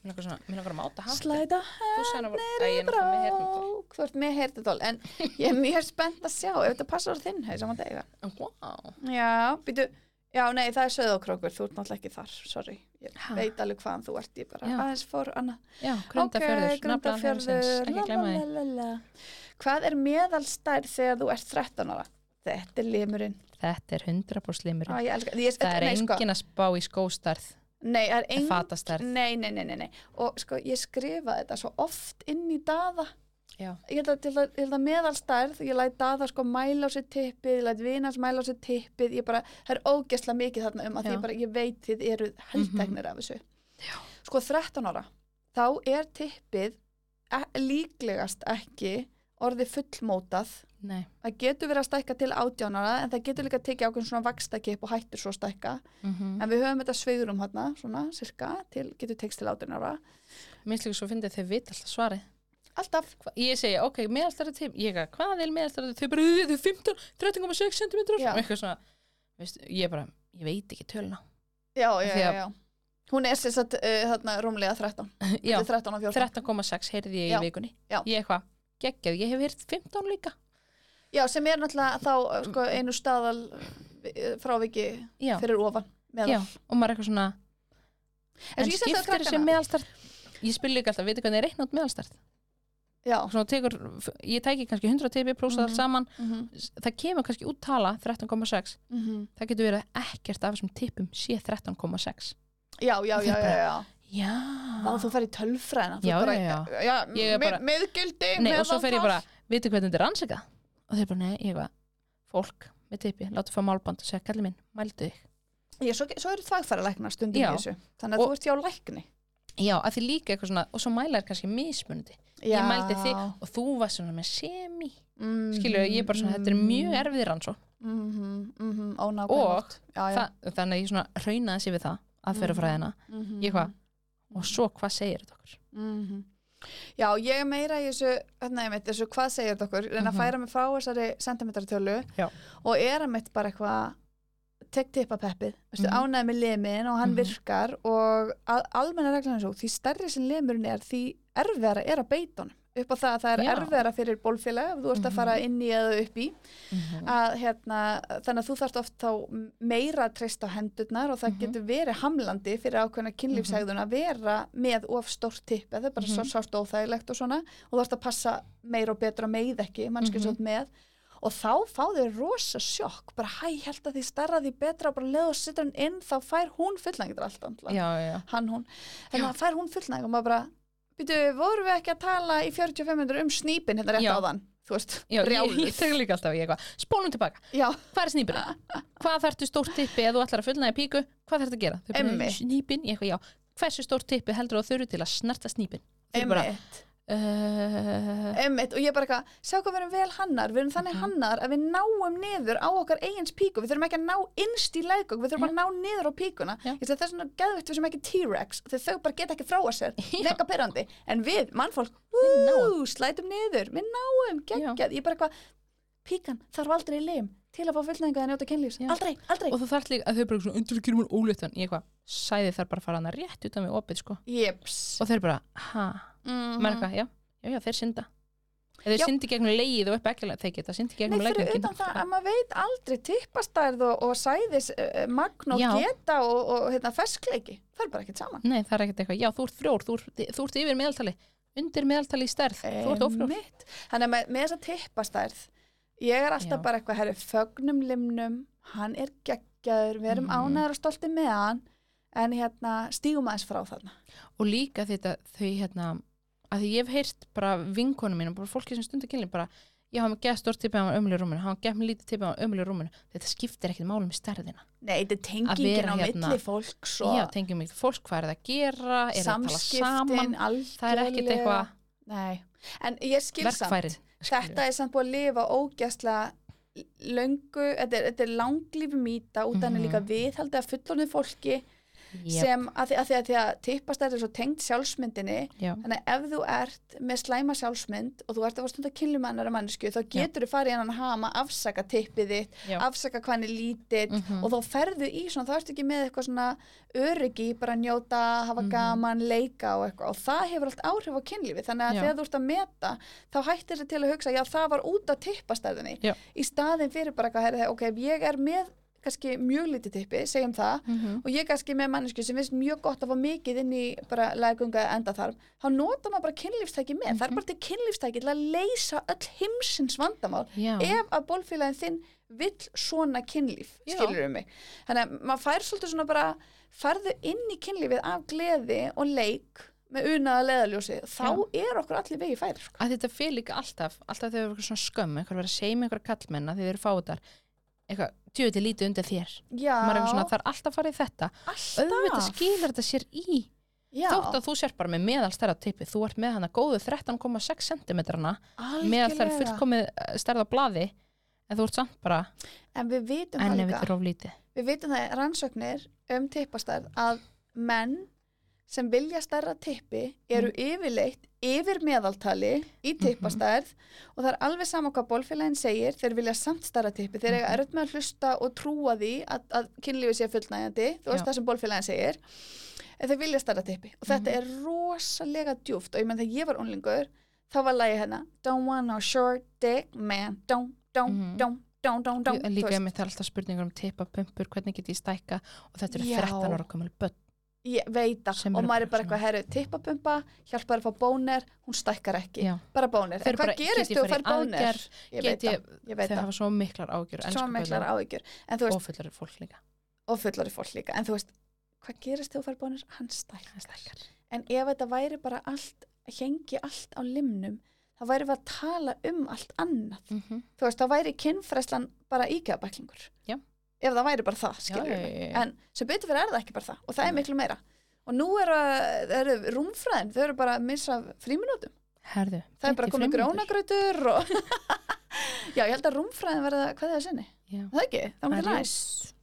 Speaker 1: Mér langar svona- mig langar að máta hatt
Speaker 2: Slæta
Speaker 1: Þú sagði að voru Æ, ég er náttúrulega með hernum
Speaker 2: brák Þú ert með heyrnadól En ég er mjög spennt að sjá Ef þetta passar á þinn hefði saman dega
Speaker 1: Wow
Speaker 2: Já, býtu Já, nei, það er söðokrókur Þú ert náttúrulega ekki þar, sorry Ég
Speaker 1: Ha.
Speaker 2: veit alveg hvaðan þú ert Ég bara
Speaker 1: Já.
Speaker 2: aðeins fór annað
Speaker 1: Já, grindafjörður
Speaker 2: Ok, Grundarfjörður
Speaker 1: Ekki glemma því
Speaker 2: lalalala. Hvað er meðalstær þegar þú ert 13 ára? Þetta er limurinn
Speaker 1: Þetta er 100% limur
Speaker 2: Á, ég elska, ég,
Speaker 1: Það er
Speaker 2: nei, sko,
Speaker 1: engin að spá í skóstarð
Speaker 2: Nei, það er
Speaker 1: en
Speaker 2: engin
Speaker 1: fatastarð
Speaker 2: Nei, nei, nei, nei, nei. Og sko, ég skrifaði þetta svo oft inn í daða.
Speaker 1: Já.
Speaker 2: Ég held að, ég held að, ég held að meðalstærð, ég læt daða sko mæla á sér tippið, ég læt vinans mæla á sér tippið, ég bara, það er ógesla mikið þarna um að
Speaker 1: Já.
Speaker 2: því ég bara, ég veit þið eru heldtegnir af þessu. Já. Sko, 13 ára, þá er tippið e líklegast ekki orðið fullmótað.
Speaker 1: Nei
Speaker 2: Það getur verið að stækka til 18 ára, en það getur líka að tekið ákveðin svona vakstakip og hættur svo að stækka.
Speaker 1: Mhm.
Speaker 2: En við höfum þetta sveigurum hérna, svona, cirka, til, getur tekst til 18 ára.
Speaker 1: Mér finnst líka svo fyndið þau vita alltaf svarið
Speaker 2: Alltaf.
Speaker 1: Hva- Ég segi, ok, meðalstæri tím Ég að, hvað er meðalstæri tím? Þau bara, "Þau- þau eru 15, 13,6 cm
Speaker 2: Já.
Speaker 1: Eitthvað svona Veistu, Ég bara, ég veit ekki tölna
Speaker 2: Já, já,
Speaker 1: Því
Speaker 2: já,
Speaker 1: að-
Speaker 2: já. Hún er sér satt uh, þarna rúmlega 13.
Speaker 1: Já,
Speaker 2: Þetta er 13 og 14.
Speaker 1: 13,6 heyrði ég
Speaker 2: Já.
Speaker 1: í vikunni
Speaker 2: Já.
Speaker 1: Ég eitthvað, geggjað, ég hef heyrt 15 líka
Speaker 2: Já, sem er náttúrulega þá eh, sko, einu staðal eh, fráviki
Speaker 1: Já,
Speaker 2: fyrir ofan.
Speaker 1: já,
Speaker 2: meðal.
Speaker 1: og maður er eitthvað svona
Speaker 2: En
Speaker 1: En,
Speaker 2: svo ég seti á
Speaker 1: skiptir þessi
Speaker 2: krakkana.
Speaker 1: meðalstart Ég spil líka alltaf, veitir hvernig ég reikna út meðalstart
Speaker 2: Já.
Speaker 1: Og Svona tekur, ég tæki kannski 100 tipi Prósa
Speaker 2: Mhm.
Speaker 1: það saman,
Speaker 2: mhm,
Speaker 1: það kemur kannski út tala 13,6
Speaker 2: mhm.
Speaker 1: Það getur verið að ekkert af þessum tipum sé 13,6
Speaker 2: Já, já, já, já, já.
Speaker 1: Já
Speaker 2: Þá þú fer í tölfræðina. þú
Speaker 1: Já,
Speaker 2: bara,
Speaker 1: já, já.
Speaker 2: já.
Speaker 1: Ég er
Speaker 2: mið-
Speaker 1: bara-
Speaker 2: miðgildi,
Speaker 1: Nei, og svo fer ég
Speaker 2: meðaltal.
Speaker 1: bara, veitir hvernig þetta er rannsakað Og þeir bara, nei, ég eitthvað Fólk með tipi, láta fá málband og segja, kalli minn, mældu þig
Speaker 2: Ég, svo, svo eru þvægfæra lækna stundum
Speaker 1: Já.
Speaker 2: í þessu. Þannig að
Speaker 1: Og-
Speaker 2: þú ert hjá lækni.
Speaker 1: Já, að því líka eitthvað svona, og svo mæla er kannski mismunandi Ég mældi þig og þú var svona með semi
Speaker 2: Mm,
Speaker 1: Skilju, ég er bara svona, þetta er mjög erfið rannsó
Speaker 2: Mhm, mhm,
Speaker 1: Og
Speaker 2: ónákvæmt. Já, já.
Speaker 1: Þa, Þannig að ég svona raunaði sér við það aðferðafræðina
Speaker 2: Mhm.
Speaker 1: Ég hvað, og svo hvað segir þetta okkur
Speaker 2: Mhm. Já, ég er meira í þessu, hérna ég mitt, þessu hvað segir þetta okkur, reyna að
Speaker 1: Mhm.
Speaker 2: færa mig frá þessari sentimetartölu
Speaker 1: Já.
Speaker 2: og er að mitt bara eitthvað tek tippapeppið, veistu,
Speaker 1: Mhm.
Speaker 2: ánæði með limin og hann
Speaker 1: Mhm.
Speaker 2: virkar og al almenna reglan er svo, því stærri sem limurinn er, því erfiðara er að beita honum upp á það að það er
Speaker 1: Já.
Speaker 2: erfiðara fyrir bólfélag ef þú ert að
Speaker 1: Mhm.
Speaker 2: fara inn í eða upp í að, hérna, þannig að þú þarft oft þá meira að treysta á hendurnar og það
Speaker 1: Mhm.
Speaker 2: getur verið hamlandi fyrir ákveðna kynlífshegðun að vera með of stórt tipp eða það er bara mm
Speaker 1: Mhm.
Speaker 2: -hmm. sást óþægilegt og svona og þú þarft að passa meira og betra með ekki, mannskið mm
Speaker 1: Mhm.
Speaker 2: -hmm. með og þá fá þau rosa sjokk bara hæ, ég held að því starra því betra og bara leið og sittur hann inn, þá fær hún fullnægir alltaf,
Speaker 1: Já, já, já,
Speaker 2: hann hún en það fær hún fullnægir og maður bara býtu, vorum við ekki að tala í 45 minnur um snýpin hérna rétt
Speaker 1: Já.
Speaker 2: áðan, þú veist,
Speaker 1: já ég,
Speaker 2: brjáluð.
Speaker 1: ég tegur líka alltaf ég eitthvað Spólum tilbaka,
Speaker 2: Já.
Speaker 1: hvað er snýpurinn? Hvað þarftu stórt tippi eða þú ætlar að fullnaði píku? Hvað þarftu að gera? Þau bara,
Speaker 2: Einmitt.
Speaker 1: Snýpin, ég eitthvað, já Hversu stórt tippi heldur þú þurru til að snerta snýpin? Þau bara,
Speaker 2: Einmitt.
Speaker 1: uh,
Speaker 2: Einmitt, og ég bara eitthvað, sjá hvað við erum vel hannar við erum þannig
Speaker 1: Mhm.
Speaker 2: hannar að við náum niður á okkar eigins píku, við þurfum ekki að ná innst í lægok, við þurfum bara að ná niður á píkuna
Speaker 1: Já.
Speaker 2: ég segi það er svona geðvikt við sem ekki T-Rex þegar þau bara geta ekki frá að sér, mega pyrrandi en við, mannfólk,
Speaker 1: náum.
Speaker 2: ú, slætum niður við náum, geggjað, ég bara eitthvað píkan þarf aldrei í lim til að fá fullnæðinga að njóta kynlífs,
Speaker 1: Já.
Speaker 2: aldrei, aldrei
Speaker 1: og þú þarf líka að þau bara svona undur kjörmur óléttan Ég eitthvað, sæði þar bara að fara hana rétt utan við opið sko
Speaker 2: jeps
Speaker 1: Og þeir bara, ha,
Speaker 2: Mhm.
Speaker 1: maður eitthvað, já, já, já, þeir synda Eða
Speaker 2: Já.
Speaker 1: þeir syndi gegnum leið og upp ekki Þeir geta syndi
Speaker 2: Nei,
Speaker 1: gegnum
Speaker 2: fyrir
Speaker 1: leggöngin.
Speaker 2: utan það að maður veit aldrei tippastærð og, og sæðis uh, magn og
Speaker 1: Já.
Speaker 2: geta og, og hérna, ferskleiki. Það er bara ekkert saman.
Speaker 1: Nei, það er ekkert eitthvað, já, þú ert frjór, þú, ert- þú ert yfir meðaltali, undir meðaltali í stærð, þú ert ofrjór.
Speaker 2: Einmitt. Þannig að með, með þessa tippastærð, ég er alltaf
Speaker 1: Já.
Speaker 2: bara eitthvað, herri, fögnum limnum, hann er geggjaður, við erum
Speaker 1: Mhm.
Speaker 2: ánæður og stolti með hann, en hérna, stígum aðeins frá þarna.
Speaker 1: Og líka þetta, þau hérna, að því ég hef heyrt bara vinkonu mínum, bara fólki sem stundu kynlíf, bara, já, hann geða stórt tippið, hann var ömulegur í rúminu, hann geða með lítið tippið, hann var ömulegur í rúminu, þetta skiptir ekkert málum í stærðina.
Speaker 2: Nei, þetta er tengingin
Speaker 1: vera
Speaker 2: á
Speaker 1: hérna-
Speaker 2: milli fólks
Speaker 1: Já,
Speaker 2: og
Speaker 1: tengjum mig, fólk, hvað er það að gera, er það að tala
Speaker 2: samskiptin,
Speaker 1: saman, það er ekkert
Speaker 2: algjörlega.
Speaker 1: eitthvað
Speaker 2: Nei, en ég skilsamt.
Speaker 1: verkfærin.
Speaker 2: þetta er samt búið að lifa ógæslega löngu, þetta er, þetta er langlífi mýta út af henni
Speaker 1: Mhm.
Speaker 2: líka viðhaldið að fullorðið fólki
Speaker 1: Jep.
Speaker 2: sem að því að, því að, því að tippast er svo tengt sjálfsmyndinni
Speaker 1: Já.
Speaker 2: þannig að ef þú ert með slæma sjálfsmynd og þú ert að fara stundar kynlum með annara mannesku þá getur þú farið í hennan hama afsaka tippið þitt,
Speaker 1: Já.
Speaker 2: afsaka hvað hann er lítill
Speaker 1: Mhm.
Speaker 2: og þá ferðu í svona, þá ertu ekki með eitthvað svona öryggi, í bara að njóta hafa
Speaker 1: Mhm.
Speaker 2: gaman, leika og eitthvað og það hefur allt áhrif á kynlífi, þannig að
Speaker 1: Já.
Speaker 2: þegar þú ert að meta, þá hættir þetta til að hugsa já, það var út að tippastæðinni
Speaker 1: Já.
Speaker 2: í staðin fyrir bara hvað, heyrðu, ok, ef ég er með kannski mjög lítið tippi, segjum það
Speaker 1: Mhm.
Speaker 2: og ég kannski með mannesku sem finnst mjög gott að fá mikið inn í bara legunga enda þar þá nota maður bara kynlífstæki með
Speaker 1: Mhm.
Speaker 2: það er bara til kynlífstæki til að leysa öll heimsins vandamál
Speaker 1: Já.
Speaker 2: ef að bólfélagin þinn vill svona kynlíf
Speaker 1: Já.
Speaker 2: skilur um mig þannig að maður fær svolítið svona bara farðu inn í kynlífið af gleði og leik með unaða leðaljósi þá er okkur allir vegi færi sko.
Speaker 1: að þetta fyrir líka alltaf alltaf þegar eitthvað svona skömm, eitthvað verið að segja með einhverja kallmenn að þeir eru fáðar eitthvað, djöðu lítið undir þér
Speaker 2: já,
Speaker 1: maður er svona, það er alltaf farið í þetta auðvitað
Speaker 2: alltaf
Speaker 1: skilur þetta sér í
Speaker 2: Já,
Speaker 1: þótt að þú sér bara með meðalstæra tippi þú ert með hana góðu 13,6 cm meðalstæra
Speaker 2: algjörlega.
Speaker 1: fullkomið stærða blaði en þú ert samt bara
Speaker 2: en við vitum það
Speaker 1: enni við
Speaker 2: líka
Speaker 1: þér of lítið
Speaker 2: við vitum það í rannsóknir um tippastærð að menn sem vilja stærra tippi eru
Speaker 1: Mm.
Speaker 2: yfirleitt yfir meðaltali
Speaker 1: Mhm.
Speaker 2: í tippastærð og það er alveg sama hvað bólfélagin segir þeir vilja samt stærra tippi, þeir
Speaker 1: Mhm.
Speaker 2: eiga erut með að hlusta og trúa því að, að kynlífi sé fullnægjandi, þú
Speaker 1: Já.
Speaker 2: veist það sem bólfélagin segir en þeir vilja stærra tippi og
Speaker 1: Mhm.
Speaker 2: þetta er rosalega djúft og ég menn þegar ég var unlingur þá var lagi hérna don't want no short dick man don't, don't,
Speaker 1: Mhm.
Speaker 2: don't, don't, don't, don't
Speaker 1: Ég-
Speaker 2: Þú
Speaker 1: líka
Speaker 2: veist.
Speaker 1: með það er alltaf spurningar um tippa, pumpur, hvernig get ég stækka og þetta eru
Speaker 2: Já.
Speaker 1: 13 ára komali börn
Speaker 2: ég veit að,
Speaker 1: Sem
Speaker 2: og
Speaker 1: eru
Speaker 2: maður er
Speaker 1: bara
Speaker 2: bara eitthvað herru, tippapumpa, hjálpar að fá bónir hún stækkar ekki,
Speaker 1: Já.
Speaker 2: bara bónir
Speaker 1: Þau
Speaker 2: en
Speaker 1: eru
Speaker 2: hvað
Speaker 1: bara,
Speaker 2: gerist
Speaker 1: get ég
Speaker 2: þegar þú
Speaker 1: farið
Speaker 2: fær
Speaker 1: í
Speaker 2: bónir?
Speaker 1: aðgerð?
Speaker 2: Ég
Speaker 1: Get
Speaker 2: veit
Speaker 1: ég-
Speaker 2: það, ég veit
Speaker 1: þau
Speaker 2: það
Speaker 1: hafa svo miklar ágjur
Speaker 2: svo miklar áhyggjur, en þú
Speaker 1: og
Speaker 2: veist,
Speaker 1: fullar fólk líka
Speaker 2: og fullari fólk líka en þú veist, hvað gerist þegar þú fær bónir? hann
Speaker 1: Það
Speaker 2: stækkar,
Speaker 1: stækkar.
Speaker 2: en ef þetta væri bara allt, hengi allt á limnum þá væri við að tala um allt annað
Speaker 1: Mhm.
Speaker 2: þú veist, þá væri kynfræslan bara íkjafbæklingur
Speaker 1: Já.
Speaker 2: ef það væri bara það,
Speaker 1: Já,
Speaker 2: skilur
Speaker 1: já, já, já.
Speaker 2: en sem betur fyrir er það ekki bara það og það er
Speaker 1: Nei.
Speaker 2: miklu meira og nú eru, eru rúmfræðin, þau eru bara að missa fríminútum,
Speaker 1: Herðu,
Speaker 2: það er bara
Speaker 1: 55
Speaker 2: komið
Speaker 1: mínútur.
Speaker 2: grónagrautur og já, ég held að rúmfræðin verða hvað það er sinni,
Speaker 1: Já.
Speaker 2: það ekki, það er
Speaker 1: Adiós.
Speaker 2: næst